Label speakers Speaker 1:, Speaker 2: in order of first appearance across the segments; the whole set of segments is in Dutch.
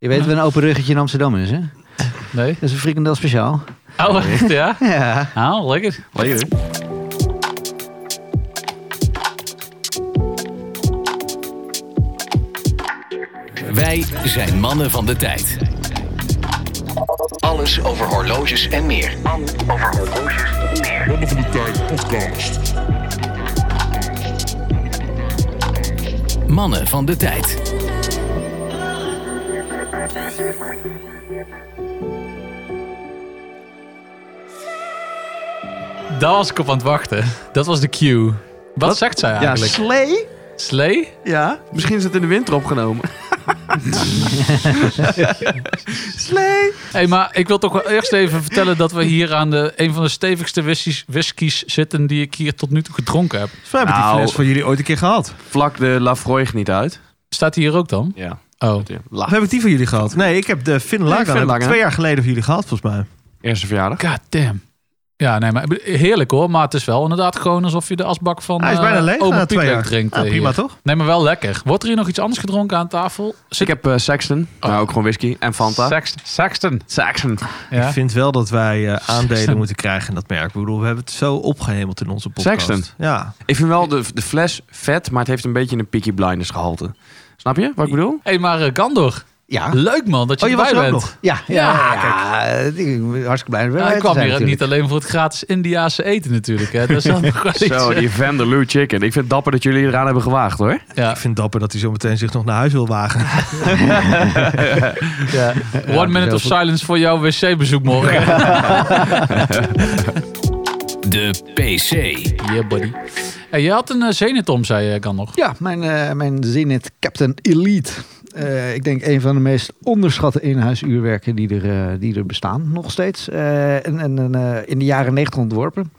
Speaker 1: Je weet wat een open ruggetje in Amsterdam is, hè?
Speaker 2: Nee.
Speaker 1: Dat is een frikandel speciaal.
Speaker 2: Oh, echt, ja?
Speaker 1: Ja.
Speaker 2: Nou, lekker.
Speaker 3: Lekker.
Speaker 4: Wij zijn mannen van de tijd. Alles over horloges en meer. Mannen van de tijd.
Speaker 2: Daar was ik op aan het wachten. Dat was de cue. Wat, zegt zij
Speaker 3: Ja,
Speaker 2: eigenlijk?
Speaker 3: slee.
Speaker 2: Slee?
Speaker 3: Ja, misschien is het in de winter opgenomen. slee.
Speaker 2: Hé, hey, maar ik wil toch wel eerst even vertellen dat we hier aan de, een van de stevigste whiskies, whiskies zitten die ik hier tot nu toe gedronken heb.
Speaker 5: Volgens mij heb ik
Speaker 3: Nou.
Speaker 5: die fles van jullie ooit een keer gehad.
Speaker 3: Vlak de Lafroig niet uit.
Speaker 2: Staat die hier ook dan?
Speaker 3: Ja.
Speaker 2: Oh,
Speaker 5: Of heb ik die van jullie gehad? Nee, ik heb de Finn Lagan, heb ik
Speaker 3: Lagan.
Speaker 5: twee jaar geleden van jullie gehad, volgens mij.
Speaker 3: Eerste verjaardag.
Speaker 2: god damn. Ja, nee, maar ik bedoel, heerlijk hoor. Maar het is wel inderdaad gewoon alsof je de asbak van
Speaker 5: Hij is bijna
Speaker 2: eh,
Speaker 5: leeg
Speaker 2: oma
Speaker 5: na
Speaker 2: Piet
Speaker 5: twee
Speaker 2: leeg
Speaker 5: jaar.
Speaker 2: drinkt.
Speaker 5: Nou,
Speaker 2: eh,
Speaker 5: prima
Speaker 2: hier.
Speaker 5: toch?
Speaker 2: Nee, maar wel lekker. Wordt er hier nog iets anders gedronken aan tafel?
Speaker 3: Ik heb eh, Sexton. Nou, ook gewoon whisky. En Fanta.
Speaker 2: Sexton. Sexton.
Speaker 3: Saxon.
Speaker 2: Ja.
Speaker 5: Ik vind wel dat wij eh, aandelen moeten krijgen in dat merk. Ik bedoel, we hebben het zo opgehemeld in onze podcast.
Speaker 3: Sexton.
Speaker 5: Ja.
Speaker 3: Ik vind wel de, de fles vet, maar het heeft een beetje een Peaky Blinders gehalte. Snap je wat ik bedoel?
Speaker 2: Hé, maar eh, Gandor.
Speaker 1: Ja.
Speaker 2: Leuk man dat je
Speaker 5: Oh, je was
Speaker 2: erbij
Speaker 5: er ook
Speaker 2: bent.
Speaker 5: nog.
Speaker 1: Ja, ja, ja, ik ben hartstikke blij.
Speaker 2: Ja,
Speaker 1: dat
Speaker 2: ik kwam hier
Speaker 1: zijn
Speaker 2: niet alleen voor het gratis Indiaanse eten natuurlijk. Hè. Dat is dan nog wel iets,
Speaker 3: Zo,
Speaker 2: eh,
Speaker 3: die Vanderloo Chicken. Ik vind het dapper dat jullie eraan hebben gewaagd hoor.
Speaker 2: ja.
Speaker 5: Ik vind het dapper dat hij zo meteen zich nog naar huis wil wagen.
Speaker 2: Ja. One minute of silence voor jouw wc-bezoek morgen.
Speaker 4: De PC.
Speaker 2: Yeah, buddy. Hey, je had een eh, zenit om, zei je kan nog.
Speaker 1: Ja, mijn, eh mijn Zenit Captain Elite. Eh, ik denk een van de meest onderschatte inhuisuurwerken die er, eh, die er bestaan nog steeds. Eh, en, en, en, eh, in de jaren 90 ontworpen.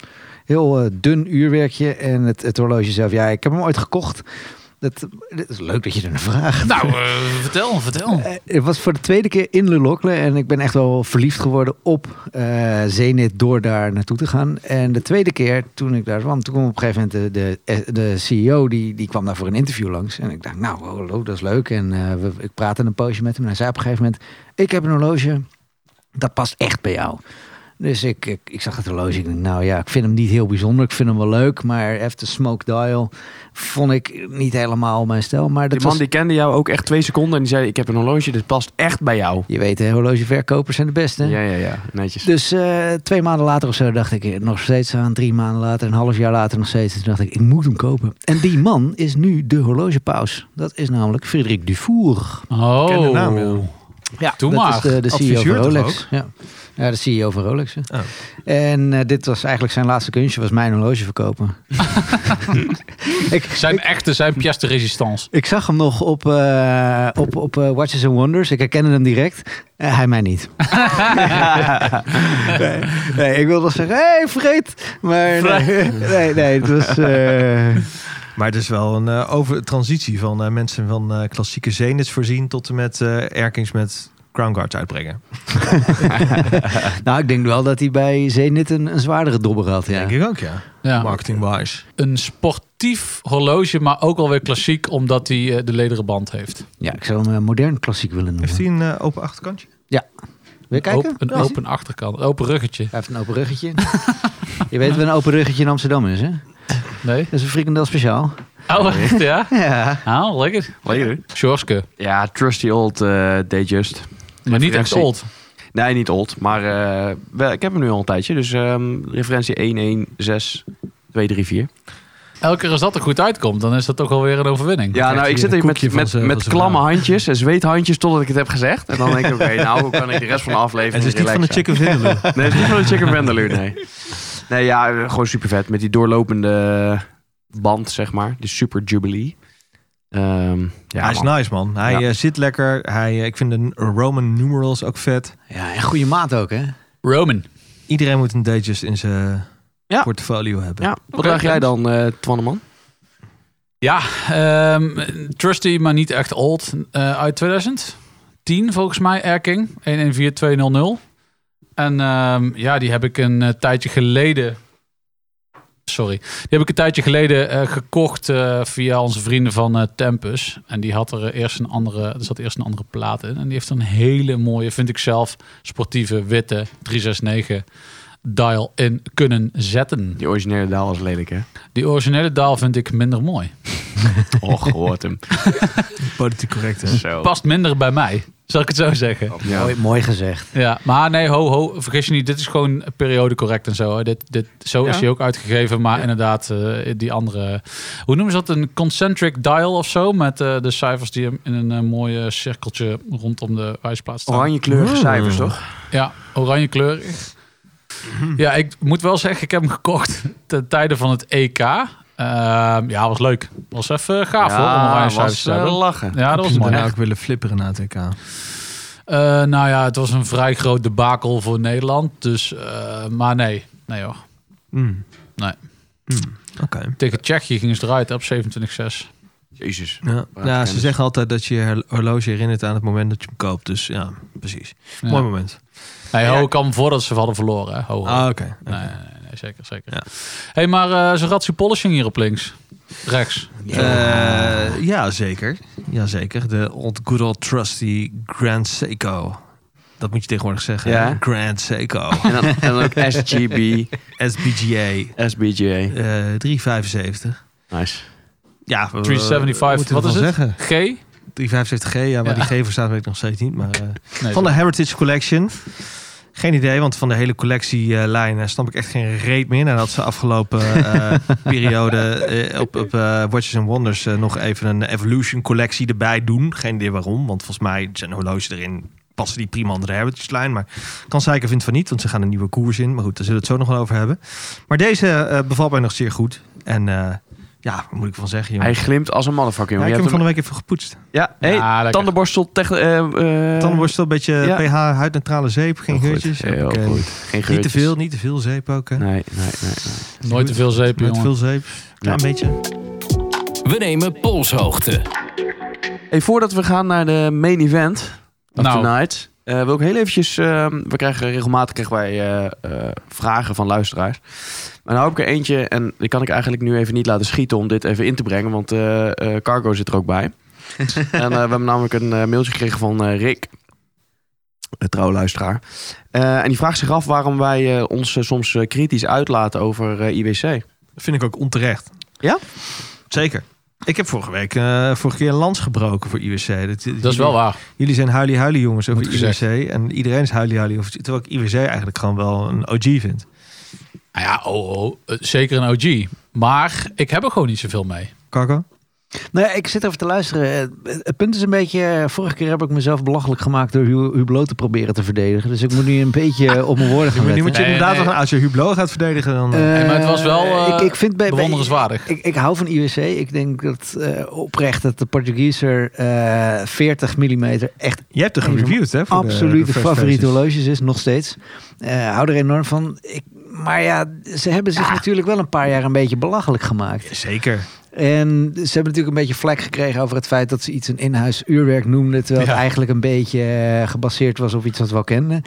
Speaker 1: Heel eh, dun uurwerkje en het, het horloge zelf. Ja, ik heb hem ooit gekocht. Dat, dat is leuk dat je er naar vraagt.
Speaker 2: Nou, eh, vertel, vertel.
Speaker 1: Eh, het was voor de tweede keer in Lulokle en ik ben echt wel verliefd geworden op eh Zenit door daar naartoe te gaan. En de tweede keer toen ik daar kwam, toen kwam op een gegeven moment de, de, de CEO, die, die kwam daar voor een interview langs. En ik dacht, nou hallo, dat is leuk. En eh, we, ik praatte een poosje met hem en hij zei op een gegeven moment, ik heb een horloge, dat past echt bij jou. Dus ik, ik, ik zag het horloge. Ik denk, nou ja, ik vind hem niet heel bijzonder. Ik vind hem wel leuk. Maar After Smoke Dial vond ik niet helemaal mijn stijl. Maar dat
Speaker 3: Die man
Speaker 1: was...
Speaker 3: die kende jou ook echt twee seconden en die zei: Ik heb een horloge, dit past echt bij jou.
Speaker 1: Je weet, hè, horlogeverkopers zijn de beste.
Speaker 3: Ja, ja, ja. Netjes.
Speaker 1: Dus eh, twee maanden later of zo dacht ik er nog steeds aan. Drie maanden later, een half jaar later nog steeds. Toen dacht ik, ik moet hem kopen. En die man is nu de horlogepaus. Dat is namelijk Frederik Dufour.
Speaker 5: ken de
Speaker 2: Oh.
Speaker 5: naam, ja.
Speaker 1: Ja,
Speaker 2: Doe
Speaker 1: dat
Speaker 2: maar.
Speaker 1: is de, de CEO
Speaker 5: Adviseur
Speaker 1: van
Speaker 5: toch
Speaker 1: Rolex. Ja. ja, de CEO van Rolex. hè.
Speaker 5: Oh.
Speaker 1: En eh, dit was eigenlijk zijn laatste kunstje, was mijn horloge verkopen. ik,
Speaker 2: Zijn echte, zijn pièce de résistance.
Speaker 1: ik zag hem nog op, eh, op, op eh, Watches and Wonders. Ik herkende hem direct. Eh, hij mij niet. nee, nee, ik wilde wel zeggen, hé, hey, vreet. Maar nee, nee, nee, het was... eh,
Speaker 5: Maar het is wel een eh, over transitie van eh, mensen van eh, klassieke zenits voorzien tot en met eh erkings met crown guards uitbrengen.
Speaker 1: nou, ik denk wel dat hij bij Zenit een, een zwaardere dobber had, ja.
Speaker 5: Denk ik ook, ja.
Speaker 2: Ja. Mhm.
Speaker 5: Marketing-wise.
Speaker 2: Een sportief horloge, maar ook alweer klassiek, omdat hij eh, de lederen band heeft.
Speaker 1: Ja, ik zou hem eh, modern klassiek willen noemen.
Speaker 5: Heeft hij een eh, open achterkantje?
Speaker 1: Wil je kijken?
Speaker 2: Open- een
Speaker 1: Ja.
Speaker 2: open achterkant, een open ruggetje.
Speaker 1: Hij heeft een open ruggetje. Je weet wat een open ruggetje in Amsterdam is, hè?
Speaker 2: Nee?
Speaker 1: Dat is een frikandel speciaal.
Speaker 2: Oh, echt, ja?
Speaker 1: Ja.
Speaker 2: Ah, lekker.
Speaker 3: Lekker.
Speaker 2: Sjorske.
Speaker 3: Ja, trusty old eh day just.
Speaker 2: Maar niet echt
Speaker 3: Referentie.
Speaker 2: old.
Speaker 3: Nee, niet old, maar eh, wel, ik heb hem nu al een tijdje. Dus ehm, referentie 116234.
Speaker 2: Elke keer als dat er goed uitkomt, dan is dat toch alweer een overwinning.
Speaker 3: Ja, nou, ik
Speaker 5: hier
Speaker 3: zit
Speaker 5: een
Speaker 3: hier
Speaker 5: koekje
Speaker 3: met,
Speaker 5: van
Speaker 3: met,
Speaker 5: zijn-
Speaker 3: met
Speaker 5: van zijn
Speaker 3: klamme
Speaker 5: vrouw.
Speaker 3: handjes en zweethandjes totdat ik het heb gezegd. En dan denk ik, oké, nou, hoe kan ik de rest van de aflevering
Speaker 5: Het is niet van de
Speaker 3: relaxen?
Speaker 5: chicken vindaloo.
Speaker 3: Nee, het is niet van de chicken Vanderloo, nee. Nee, ja, eh, gewoon super vet. Met die doorlopende band, zeg maar. De Super Jubilee. Ehm, ja,
Speaker 5: hij is
Speaker 3: man.
Speaker 5: nice, man. Hij
Speaker 3: Ja.
Speaker 5: eh, zit lekker. Hij, eh, ik vind de Roman numerals ook vet.
Speaker 1: Ja, en goede maat ook, hè?
Speaker 2: Roman.
Speaker 5: Iedereen moet een Datejust in zijn
Speaker 3: Ja.
Speaker 5: portfolio hebben.
Speaker 3: Ja, wat
Speaker 2: Oké,
Speaker 3: dacht jij dan, eh Twanneman?
Speaker 2: Ja, ehm, trusty, maar niet echt old. Eh, uit 2010 volgens mij, Erking. 114200. En ehm, ja, die heb ik een eh, tijdje geleden Sorry. Die heb ik een tijdje geleden eh, gekocht eh, via onze vrienden van eh, Tempus. En die had er eh, eerst een andere, er zat eerst een andere plaat in. En die heeft een hele mooie, vind ik zelf, sportieve witte 369 dial in kunnen zetten.
Speaker 3: Die originele daal was lelijk, hè?
Speaker 2: Die originele dial vind ik minder mooi.
Speaker 3: Och, gehoord hem.
Speaker 5: Politiek correct, hè?
Speaker 3: Zo.
Speaker 2: Past minder bij mij, zal ik het zo zeggen.
Speaker 3: Ja.
Speaker 1: Mooi, mooi gezegd.
Speaker 2: Ja, maar nee, ho, ho, vergis je niet. Dit is gewoon periode correct en zo. Hè. Dit, dit, zo is
Speaker 3: Ja.
Speaker 2: hij ook uitgegeven. Maar inderdaad, eh, die andere... Hoe noemen ze dat? Een concentric dial of zo? Met eh, de cijfers die hem in een eh, mooi cirkeltje rondom de wijsplaat staan.
Speaker 3: Oranje kleurige cijfers,
Speaker 5: Hmm.
Speaker 3: toch?
Speaker 2: Ja, oranje kleur. Ja, ik moet wel zeggen, ik heb hem gekocht ten tijde van het EK. Ehm, ja, was leuk. Was even gaaf hoor, om oranje cijfers
Speaker 3: was
Speaker 2: te
Speaker 3: eh,
Speaker 2: hebben.
Speaker 3: lachen.
Speaker 2: Ja, dat was mooi.
Speaker 5: daarna ook willen flipperen na het E EK.
Speaker 2: Eh, nou ja, het was een vrij groot debakel voor Nederland. Dus, eh, maar nee. Nee hoor.
Speaker 5: Mm.
Speaker 2: Nee.
Speaker 5: Mm. Oké.
Speaker 2: Tegen Tsjechië gingen ze eruit hè, op 27-6.
Speaker 3: Jezus.
Speaker 5: Ja.
Speaker 3: Praat
Speaker 5: ja, ze
Speaker 3: kennis.
Speaker 5: zeggen altijd dat je je hor- horloge herinnert aan het moment dat je hem koopt. Dus ja, precies.
Speaker 2: Ja.
Speaker 5: Mooi moment.
Speaker 2: Nee, ho, ik kwam voordat ze hadden verloren. Hè. Ho, ho.
Speaker 5: Ah, oké.
Speaker 2: nee, nee, nee, nee, zeker, zeker.
Speaker 5: Ja.
Speaker 2: hey, maar eh Zeratsu Polishing hier op links. Rechts.
Speaker 5: Eh, ja, zeker. Ja, zeker. De old good old trusty Grand Seiko. Dat moet je tegenwoordig zeggen.
Speaker 3: Ja.
Speaker 5: Grand Seiko.
Speaker 3: En dan, en dan ook SGB,
Speaker 5: SBGA
Speaker 3: SBGA.
Speaker 5: eh 375.
Speaker 3: Nice.
Speaker 5: Ja, we-
Speaker 2: 375.
Speaker 5: moeten we
Speaker 2: Wat
Speaker 5: ervan
Speaker 2: is het?
Speaker 5: Zeggen?
Speaker 2: G? Nee,
Speaker 5: 375G, ja, waar
Speaker 2: Ja.
Speaker 5: die G voor staat weet ik nog steeds niet. Maar, eh,
Speaker 2: dat-
Speaker 5: van de Heritage Collection. Geen idee, want van de hele collectielijn eh, snap ik echt geen reet meer. Nadat ze afgelopen eh, periode eh, op, op eh, Watches and Wonders eh, nog even een Evolution collectie erbij doen. Geen idee waarom, want volgens mij zijn horloges erin passen die prima onder de Heritage lijn. Maar kan Zeiker vindt van niet, want ze gaan een nieuwe koers in. Maar goed, daar zullen we het zo nog wel over hebben. Maar deze eh, bevalt mij nog zeer goed. En eh, ja, wat moet ik van zeggen, jongen?
Speaker 3: Hij glimt als een motherfucker,
Speaker 5: Ja,
Speaker 3: jongen.
Speaker 5: ik heb
Speaker 3: Je
Speaker 5: hem van
Speaker 3: hebt
Speaker 5: de week even gepoetst.
Speaker 3: hem- Ja, hey,
Speaker 2: Ja, lekker.
Speaker 3: tandenborstel... Tech, eh, eh,
Speaker 5: Tandenborstel, een beetje
Speaker 3: ja.
Speaker 5: pH, huidneutrale zeep, geen
Speaker 3: Heel goed,
Speaker 5: geurtjes.
Speaker 3: Heel
Speaker 5: Hoppakee.
Speaker 3: goed. Geen geurtjes.
Speaker 5: Niet te veel, niet te veel zeep ook. Hè?
Speaker 3: Nee, nee, nee. nee.
Speaker 2: Nooit te veel zeep,
Speaker 5: Met
Speaker 2: jongen.
Speaker 5: veel zeep. Klein
Speaker 3: Ja.
Speaker 5: beetje.
Speaker 4: We nemen polshoogte.
Speaker 3: Hey, voordat we gaan naar de main event of
Speaker 2: Nou.
Speaker 3: tonight, eh, wil ik heel eventjes... eh, we krijgen regelmatig krijgen wij eh, eh, vragen van luisteraars. Maar nou heb ik er eentje en die kan ik eigenlijk nu even niet laten schieten om dit even in te brengen. Want eh, eh, Cargo zit er ook bij. en eh, we hebben namelijk een eh, mailtje gekregen van eh, Rick. Een trouwe luisteraar. Eh, en die vraagt zich af waarom wij eh, ons eh, soms eh, kritisch uitlaten over eh, IWC.
Speaker 5: Vind ik ook onterecht.
Speaker 3: Ja?
Speaker 5: Zeker. Ik heb vorige week, eh, vorige keer een lans gebroken voor IWC. Dat,
Speaker 2: Dat is wel waar.
Speaker 5: Jullie zijn huilie-huilie jongens over
Speaker 2: Moet
Speaker 5: IWC. En iedereen is huilie-huilie. over- Terwijl ik IWC eigenlijk gewoon wel een OG vind.
Speaker 2: Nou ja, oh, oh, eh, zeker een OG. Maar ik heb er gewoon niet zoveel mee.
Speaker 5: Cargo?
Speaker 1: Nou, ja, ik zit even te luisteren. Eh, Het punt is een beetje... eh, Vorige keer heb ik mezelf belachelijk gemaakt door Hu- Hublot te proberen te verdedigen. Dus ik moet nu een beetje eh, op mijn woorden gaan
Speaker 5: nu
Speaker 1: letten.
Speaker 5: moet je
Speaker 2: Nee,
Speaker 5: inderdaad
Speaker 2: nee.
Speaker 5: wel gaan- als je Hublot gaat verdedigen, dan... eh,
Speaker 2: Nee, maar het was wel,
Speaker 1: Eh,
Speaker 2: eh,
Speaker 1: ik, ik vind bij, bij-
Speaker 2: Bewonderenswaardig.
Speaker 1: ik, ik hou van IWC. Ik denk dat eh, oprecht dat de Portugeser eh 40 mm echt
Speaker 5: Jij hebt er
Speaker 1: Even-
Speaker 5: gereviewd, hè? voor de-
Speaker 1: absoluut de,
Speaker 5: First
Speaker 1: favoriete
Speaker 5: Faces.
Speaker 1: horloges is, nog steeds. Eh hou er enorm van. Ik, maar ja, ze hebben zich natuurlijk wel een paar jaar een beetje belachelijk gemaakt.
Speaker 5: Zeker.
Speaker 1: En ze hebben natuurlijk een beetje vlek gekregen over het feit dat ze iets een in-huis uurwerk noemden. Terwijl
Speaker 2: Ja.
Speaker 1: het eigenlijk een beetje eh, gebaseerd was op iets wat we al kenden.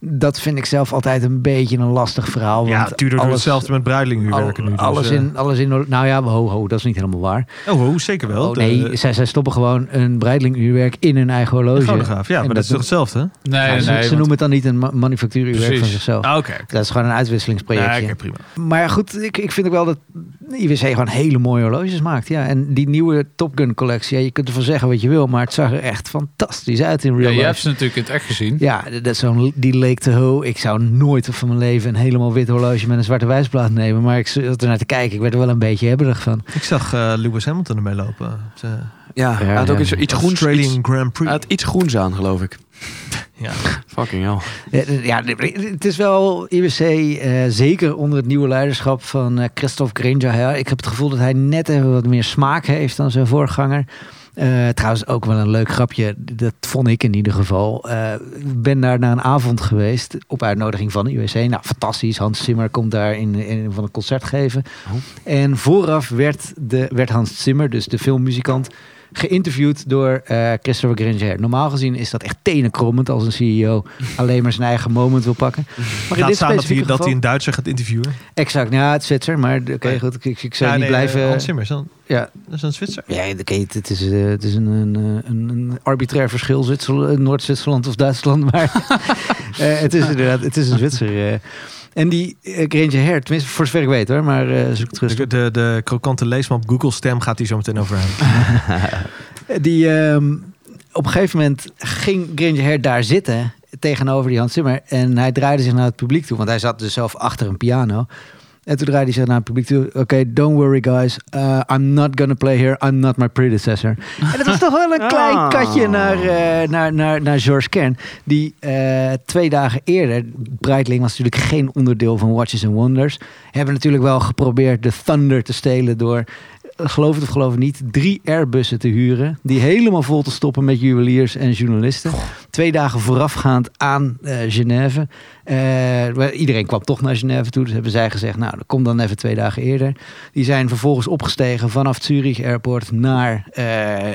Speaker 1: Dat vind ik zelf altijd een beetje een lastig verhaal.
Speaker 5: Ja,
Speaker 1: want
Speaker 5: Tudor doet
Speaker 1: alles-
Speaker 5: hetzelfde met Breitling nu
Speaker 1: al-
Speaker 5: werken nu. dus,
Speaker 1: alles,
Speaker 5: eh,
Speaker 1: in, alles in. Nou ja, ho, ho, dat is niet helemaal waar.
Speaker 5: Oh, ho, zeker wel.
Speaker 1: Oh,
Speaker 5: De-
Speaker 1: nee,
Speaker 5: de
Speaker 1: zij, zij stoppen gewoon een breidlinguurwerk in hun eigen horloge.
Speaker 5: chronograaf. Ja,
Speaker 1: En
Speaker 5: maar dat is toch
Speaker 1: doen-
Speaker 5: hetzelfde, hè?
Speaker 2: Nee,
Speaker 1: Ja,
Speaker 2: nee,
Speaker 1: ze,
Speaker 2: nee.
Speaker 1: ze
Speaker 2: want-
Speaker 1: noemen het dan niet een ma- manufactuuruurwerk van
Speaker 2: Precies.
Speaker 1: zichzelf.
Speaker 5: Ah, Oké.
Speaker 1: Dat is gewoon een uitwisselingsprojectje.
Speaker 5: Ja, oké, prima.
Speaker 1: Maar goed, ik, ik vind ook wel dat IWC gewoon hele mooie horloges maakt. Ja. En die nieuwe Top Gun collectie, ja, je kunt ervan zeggen wat je wil, maar het zag er echt fantastisch uit in
Speaker 2: Ja,
Speaker 1: real
Speaker 2: je hebt
Speaker 1: life.
Speaker 2: ze natuurlijk in het echt gezien.
Speaker 1: Ja, dat- dat zo'n die leek te ho. Ik zou nooit van mijn leven een helemaal wit horloge met een zwarte wijsplaat nemen. Maar ik zat er naar te kijken. Ik werd er wel een beetje hebberig van.
Speaker 5: Ik zag eh, Lewis Hamilton ermee lopen. Op de
Speaker 3: Ja, hij had
Speaker 1: ja.
Speaker 3: ook iets, iets groens.
Speaker 5: Australian
Speaker 3: Iets,
Speaker 5: Grand
Speaker 3: hij
Speaker 5: Prix.
Speaker 3: had iets groens aan, geloof ik.
Speaker 5: ja.
Speaker 3: Fucking hell.
Speaker 1: Ja, d- Ja, d- het is wel IWC, eh, zeker onder het nieuwe leiderschap van eh, Christophe Granger. Ja, ik heb het gevoel dat hij net even wat meer smaak heeft dan zijn voorganger. Eh, trouwens, ook wel een leuk grapje. Dat vond ik in ieder geval. Eh, ik ben daar naar een avond geweest op uitnodiging van IWC. Nou, fantastisch. Hans Zimmer komt daar in, in van een
Speaker 5: Oh.
Speaker 1: concert geven. En vooraf werd, de, werd Hans Zimmer, dus de filmmuzikant, geïnterviewd door eh, Christopher Granger. Normaal gezien is dat echt tenenkrommend als een CEO alleen maar zijn eigen moment wil pakken. Maar in dit
Speaker 5: Laat Mhm. staan dat hij,
Speaker 1: specifieke
Speaker 5: dat hij
Speaker 1: geval...
Speaker 5: een Duitser gaat interviewen.
Speaker 1: Exact, nou ja, het Zwitser, maar oké, goed, ik, ik, ik zou
Speaker 5: Ja,
Speaker 1: niet
Speaker 5: nee, eh,
Speaker 1: blijven...
Speaker 5: Hans Zimmer, is dat,
Speaker 1: ja,
Speaker 5: dat is een Zwitser.
Speaker 1: ja oké, het, het is, eh, het is een, een, eh, een, een arbitrair verschil, Zwitserl- eh, Noord-Zwitserland of Duitsland. Maar eh, het is inderdaad, het is een Zwitser. eh. En die eh, Granger Hert, tenminste voor zover ik weet hoor, maar eh, zoek het rustig.
Speaker 5: De, de, de krokante leesman op Google Stem gaat hij zo meteen over hebben.
Speaker 1: Die, ehm, op een gegeven moment ging Granger Hert daar zitten tegenover die Hans Zimmer. En hij draaide zich naar het publiek toe, want hij zat dus zelf achter een piano. En toen draaide hij zich naar het publiek toe. Oké, don't worry guys, uh, I'm not gonna play here, I'm not my predecessor. En dat was toch wel een klein
Speaker 3: Ah.
Speaker 1: katje naar, eh, naar, naar, naar George Kern. Die eh, twee dagen eerder, Breitling was natuurlijk geen onderdeel van Watches and Wonders. Hebben natuurlijk wel geprobeerd de Thunder te stelen door eh, geloof het of geloof het niet, drie Airbussen te huren. Die helemaal vol te stoppen met juweliers en journalisten. Twee dagen voorafgaand aan eh, Genève. Eh, maar iedereen kwam toch naar Genève toe. Dus hebben zij gezegd, nou, dan kom dan even twee dagen eerder. Die zijn vervolgens opgestegen vanaf Zurich Airport naar eh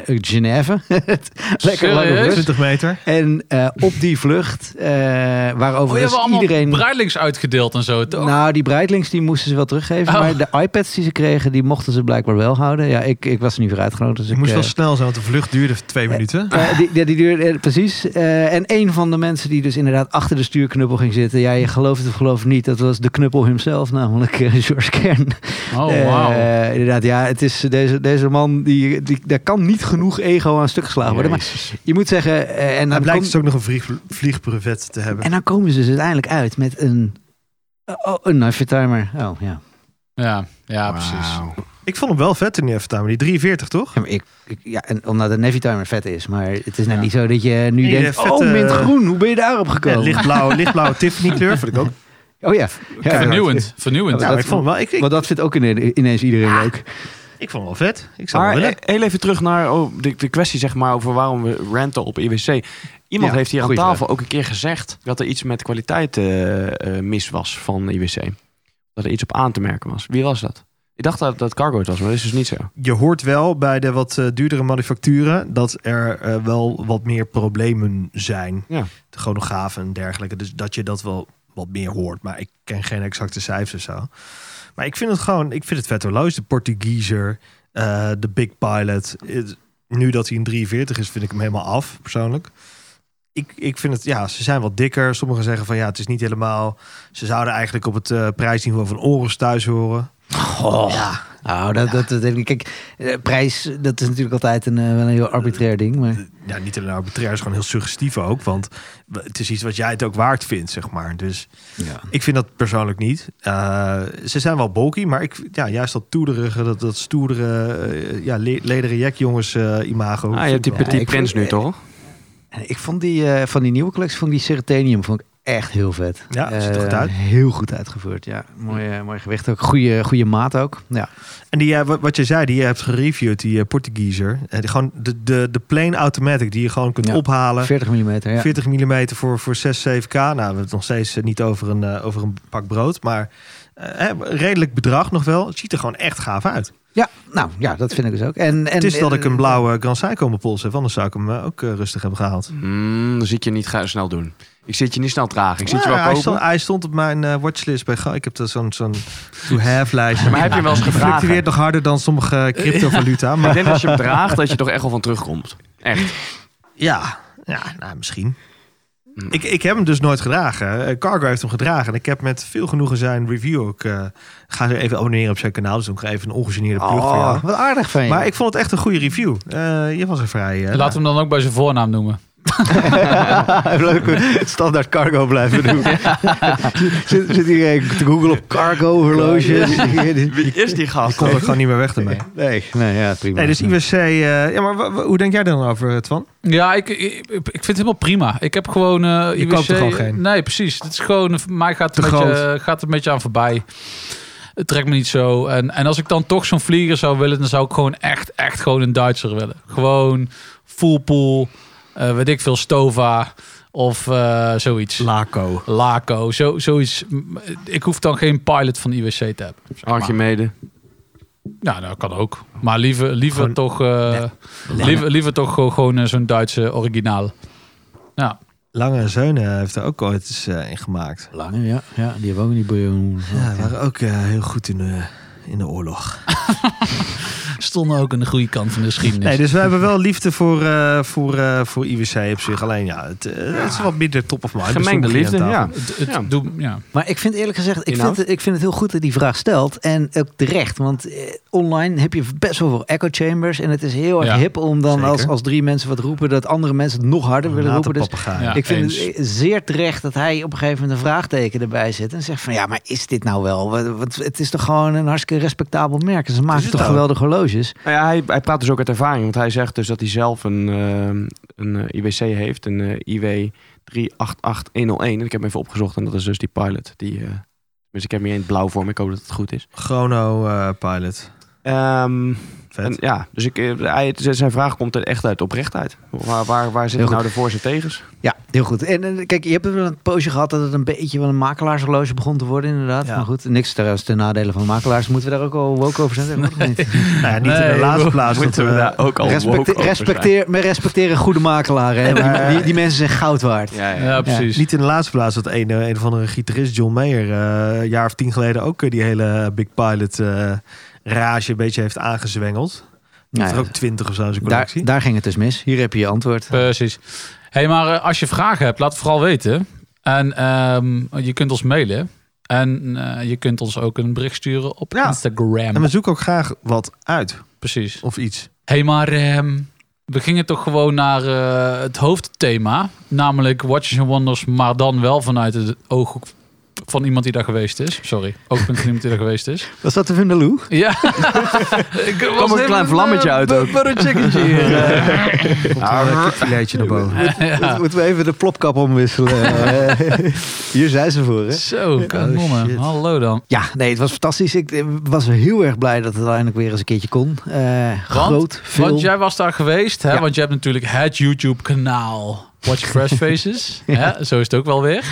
Speaker 1: Genève. Lekker lange
Speaker 2: Serieus?
Speaker 1: rust.
Speaker 5: 20 meter.
Speaker 1: En eh, op die vlucht, eh
Speaker 2: Oh,
Speaker 1: waarover
Speaker 2: je hebt allemaal
Speaker 1: dus iedereen...
Speaker 2: bruilings uitgedeeld en zo, toch?
Speaker 1: Nou, die Breitlings die moesten ze wel teruggeven.
Speaker 2: Oh.
Speaker 1: Maar de iPads die ze kregen, die mochten ze blijkbaar wel houden. Ja, ik, ik was er niet voor uitgenodigd. Dus
Speaker 5: Ik
Speaker 1: ik
Speaker 5: moest
Speaker 1: eh,
Speaker 5: wel snel zijn, want de vlucht duurde twee minuten.
Speaker 1: eh, die, die, die duurde, eh, precies. Eh, en een van de mensen die dus inderdaad achter de stuurknuppel ging zitten. Ja, je gelooft het of gelooft het niet. Dat was de knuppel himself, namelijk eh, George Kern.
Speaker 2: oh, wauw.
Speaker 1: Eh, inderdaad, ja, het is deze, deze man, die, die, daar kan niet genoeg ego aan stuk geslagen worden. Maar je moet zeggen... eh, en
Speaker 5: Hij
Speaker 1: dan
Speaker 5: blijkt
Speaker 1: kom-
Speaker 5: dus ook nog een vlieg, vliegbrevet te hebben.
Speaker 1: en dan komen ze dus uiteindelijk uit met een... Oh, een Timer. Oh, ja.
Speaker 2: Ja, ja precies.
Speaker 5: Ik vond hem wel vet in die Evertime, die 43 toch?
Speaker 1: Ja, maar ik, ik- ja, en omdat de Navy Timer vet is, maar het is nou
Speaker 2: Ja.
Speaker 1: niet zo dat je nu
Speaker 5: Nee,
Speaker 1: denkt,
Speaker 5: de vette-
Speaker 1: oh, mint groen, hoe ben je daarop
Speaker 5: Ja,
Speaker 1: gekomen?
Speaker 5: lichtblauwe, lichtblauwe Tiffany kleur vond ik ook.
Speaker 1: oh ja, ja
Speaker 2: Vernieuwend, vernieuwend.
Speaker 5: Nou,
Speaker 1: dat-
Speaker 5: ik vond hem wel, ik, ik,
Speaker 1: want dat vindt ook ine- ineens iedereen leuk.
Speaker 5: ik vond hem wel vet. Ik zou hem
Speaker 3: Maar
Speaker 5: willen.
Speaker 3: eh, heel even terug naar oh, de, de kwestie zeg maar, over waarom we ranten op IWC. Iemand
Speaker 1: Ja,
Speaker 3: heeft hier aan
Speaker 1: goeie
Speaker 3: tafel ook een keer gezegd dat er iets met kwaliteit eh, eh, mis was van IWC. Dat er iets op aan te merken was. Wie was dat? Ik dacht dat dat Cargo het was, maar dat is dus niet zo.
Speaker 5: Je hoort wel bij de wat eh, duurdere manufacturen dat er eh, wel wat meer problemen zijn.
Speaker 3: Ja.
Speaker 5: De chronografen en dergelijke. Dus dat je dat wel wat meer hoort. Maar ik ken geen exacte cijfers of zo. Maar ik vind het gewoon, ik vind het vet horloge. De Portugieser, eh, de Big Pilot. Het- nu dat hij een 43 is, vind ik hem helemaal af, persoonlijk. Ik, ik vind het, ja, ze zijn wat dikker. Sommigen zeggen van ja, het is niet helemaal. Ze zouden eigenlijk op het eh, prijsniveau van Oris thuis horen.
Speaker 1: Goh. Nou, dat, dat, dat- kijk, eh, prijs, dat is natuurlijk altijd een, eh, wel een heel arbitrair ding. Maar,
Speaker 5: ja, niet alleen arbitrair, is gewoon heel suggestief ook. Want het is iets wat jij het ook waard vindt, zeg maar. Dus
Speaker 1: ja.
Speaker 5: ik vind dat persoonlijk niet. Eh, ze zijn wel bulky, maar ik, ja, juist dat toederige, dat, dat stoerdere, eh, ja, le- lederen jekjongens eh, imago.
Speaker 3: ah, je hebt die
Speaker 1: wel.
Speaker 3: Petit
Speaker 1: Ja, ik
Speaker 3: Prins nu
Speaker 1: vind-
Speaker 3: toch?
Speaker 1: En Ik vond die, eh, van die nieuwe collectie, vond ik die Ceritanium vond ik echt heel vet.
Speaker 5: Ja, ziet er
Speaker 1: Eh,
Speaker 5: goed uit.
Speaker 1: Heel goed uitgevoerd, ja. Mooi, eh, mooi gewicht ook. Goede, goede maat ook. Ja.
Speaker 5: En die, eh, wat- wat je zei, die je hebt gereviewd, die eh, Portugeeser. Eh, die gewoon de, de, de plain automatic die je gewoon kunt
Speaker 1: Ja,
Speaker 5: ophalen.
Speaker 1: 40 mm, ja.
Speaker 5: 40 mm voor, voor 6, 7k. Nou, we hebben het nog steeds eh, niet over een, eh, over een pak brood. Maar eh, eh, redelijk bedrag nog wel. Het ziet er gewoon echt gaaf uit.
Speaker 1: Ja, nou ja, dat vind ik dus ook. En, en,
Speaker 5: Het is dat
Speaker 1: en-
Speaker 5: ik een blauwe Grand Seiko op mijn pols heb. Anders zou ik hem eh, ook eh, rustig hebben gehaald.
Speaker 3: Mm, dan zie ik je niet ga- snel doen. Ik zit je niet snel traag. Ik zit je
Speaker 5: Maar
Speaker 3: wel
Speaker 5: Nou hij,
Speaker 3: kopen.
Speaker 5: stond, hij stond op mijn eh, watchlist bij Ga. Ik heb daar zo'n zo'n to-have lijstje.
Speaker 3: Maar heb je hem wel eens
Speaker 5: Die
Speaker 3: gedragen? Eh.
Speaker 5: fluctueert nog harder dan sommige cryptovaluta.
Speaker 3: Ik
Speaker 5: Maar
Speaker 3: denk dat als je hem draagt, dat je toch echt wel van terugkomt. Echt.
Speaker 5: ja, ja nou, misschien.
Speaker 3: Mm.
Speaker 5: Ik, ik heb hem dus nooit gedragen. Eh, Cargo heeft hem gedragen. En ik heb met veel genoegen zijn review ook... eh, ga er even abonneren op zijn kanaal. Dus dan krijg ik even een ongegeneerde plug voor jou.
Speaker 1: Oh, wat aardig van je.
Speaker 5: Maar ik vond het echt een goede review. Eh, je was er vrij... eh,
Speaker 2: Laten we hem dan ook bij zijn voornaam noemen.
Speaker 1: Ah, Leuk, standaard cargo blijven doen. zit, zit iedereen te googlen op cargo horloges?
Speaker 3: Wie is die
Speaker 5: je
Speaker 3: gast?
Speaker 5: kon er gewoon niet meer weg ermee.
Speaker 1: nee, nee, ja, prima.
Speaker 5: Nee, dus IWC... eh, ja, maar wa- wa- hoe denk jij daar dan over, eh, Twan?
Speaker 2: Ja, ik, ik, ik vind het helemaal prima. Ik heb gewoon... eh
Speaker 5: Je koopt er gewoon geen.
Speaker 2: Nee, precies. Het is gewoon... voor Mij gaat
Speaker 5: Te
Speaker 2: het, een beetje, eh, gaat het een beetje aan voorbij. Het trekt me niet zo. En, en als ik dan toch zo'n vlieger zou willen... dan zou ik gewoon echt, echt gewoon een Duitser willen. Gewoon full pool. eh, weet ik veel, Stova. Of eh, zoiets.
Speaker 5: Laco.
Speaker 2: Laco. Zo, zoiets. Ik hoef dan geen pilot van IWC te hebben.
Speaker 3: Archimede.
Speaker 2: Ja, dat kan ook. Maar liever, liever
Speaker 5: Gewoon-
Speaker 2: toch, eh, liever, liever toch gewoon- gewoon eh, zo'n Duitse originaal. Ja,
Speaker 5: Lange Zeunen heeft er ook ooit eens eh, in gemaakt.
Speaker 1: Lange, ja. ja. Die hebben ook niet boeien.
Speaker 5: Ja, die waren ook eh, heel goed in de, in de oorlog.
Speaker 2: stonden ook aan de goede kant van de geschiedenis.
Speaker 5: Nee, dus we hebben wel liefde voor, eh, voor, eh, voor IWC op zich. Alleen ja, het, eh, het is wat minder top of mind. bij
Speaker 3: Gemengde
Speaker 5: sommigen
Speaker 3: liefde,
Speaker 5: aan
Speaker 3: ja.
Speaker 5: tafel.
Speaker 2: Het, het
Speaker 3: Ja.
Speaker 2: doet- ja.
Speaker 1: Maar ik vind eerlijk gezegd, ik
Speaker 3: Inhoud?
Speaker 1: vind, het- ik vind het heel goed dat die vraag stelt. En ook terecht, want eh, online heb je best wel veel echo chambers. En het is heel erg
Speaker 2: Ja,
Speaker 1: hip om dan
Speaker 5: zeker.
Speaker 1: als, als drie mensen wat roepen, dat andere mensen het nog harder willen
Speaker 5: Late
Speaker 1: roepen. Dus
Speaker 5: papegaai.
Speaker 2: Ja.
Speaker 1: ik vind
Speaker 2: eens.
Speaker 1: het eh, zeer terecht dat hij op een gegeven moment een vraagteken erbij zet. En zegt van ja, maar is dit nou wel? Wat- wat- Het is toch gewoon een hartstikke respectabel merk. En Ze maken
Speaker 5: het
Speaker 1: toch
Speaker 5: ook.
Speaker 1: geweldige horloges.
Speaker 3: Nou ja, hij, hij praat dus ook uit ervaring. Want hij zegt dus dat hij zelf een, ehm, een eh, IWC heeft. Een eh, IW 388101. En ik heb hem even opgezocht. En dat is dus die pilot. Die, eh, dus ik heb hem hier in het blauw voor me. Ik hoop dat het goed is.
Speaker 5: Chrono eh, Pilot.
Speaker 3: Ehm,
Speaker 5: Vet.
Speaker 3: en ja, dus ik, eh, hij, zijn vraag komt er echt uit oprechtheid. Waar, waar, waar
Speaker 1: Heel
Speaker 3: zitten nou de voor's en tegens?
Speaker 1: Ja, heel goed. En, eh, kijk, je hebt wel een poosje gehad dat het een beetje wel een makelaarsloge begon te worden, inderdaad.
Speaker 5: Ja.
Speaker 1: Maar goed, niks trouwens ten nadele van makelaars. Moeten we daar ook al woke over zijn? Dat weet ik niet.
Speaker 5: nou ja, niet in
Speaker 2: Nee,
Speaker 5: de laatste
Speaker 2: we-
Speaker 5: plaats.
Speaker 3: Moeten we
Speaker 5: dat, eh,
Speaker 3: daar ook al woke
Speaker 1: Respecte-
Speaker 3: over zijn?
Speaker 1: respecteer, maar respecteer een goede makelaar. Hè? Die, die, die mensen zijn goud waard.
Speaker 3: Ja, ja.
Speaker 2: ja,
Speaker 1: Dus-
Speaker 2: precies.
Speaker 5: Niet in de laatste plaats dat een, eh, een of andere gitarist John Mayer eh, een jaar of tien geleden ook eh, die hele Big Pilot eh, rage een beetje heeft aangezwengeld. Die
Speaker 1: Nou
Speaker 5: heeft
Speaker 1: ja,
Speaker 5: er ook twintig of zo in zijn
Speaker 1: daar,
Speaker 5: collectie.
Speaker 1: daar ging het dus mis. Hier heb je je antwoord.
Speaker 2: Precies. hey, maar eh, als je vragen hebt, laat het vooral weten. En ehm, je kunt ons mailen. En eh, je kunt ons ook een bericht sturen op
Speaker 5: Ja.
Speaker 2: Instagram.
Speaker 5: En we zoeken ook graag wat uit
Speaker 2: Precies.
Speaker 5: of iets.
Speaker 2: Hé, hey, maar ehm, we gingen toch gewoon naar eh, het hoofdthema. Namelijk Watches and Wonders, maar dan wel vanuit het ooghoek van iemand die daar geweest is. Sorry, oogpunt van iemand die daar geweest is.
Speaker 1: Was dat de Vindaloo?
Speaker 2: Ja. Ik was
Speaker 3: een
Speaker 2: even
Speaker 3: klein vlammetje
Speaker 2: eh,
Speaker 3: uit
Speaker 2: bu-
Speaker 3: ook.
Speaker 2: bu- een chickentje hier.
Speaker 1: eh.
Speaker 5: Kipfiletje naar boven.
Speaker 2: Ja.
Speaker 1: Moeten we even de plopkap omwisselen? Eh. Hier zijn ze voor, hè?
Speaker 2: Zo, kanon.
Speaker 1: Oh, shit.
Speaker 2: Hallo dan.
Speaker 1: Ja, nee, het was fantastisch. Ik eh, was heel erg blij dat het uiteindelijk weer eens een keertje kon. Eh, groot, veel.
Speaker 2: Want jij was daar geweest, hè?
Speaker 1: Ja.
Speaker 2: Want je hebt natuurlijk het YouTube-kanaal Watch Fresh Faces. hè? Zo is het ook wel weer.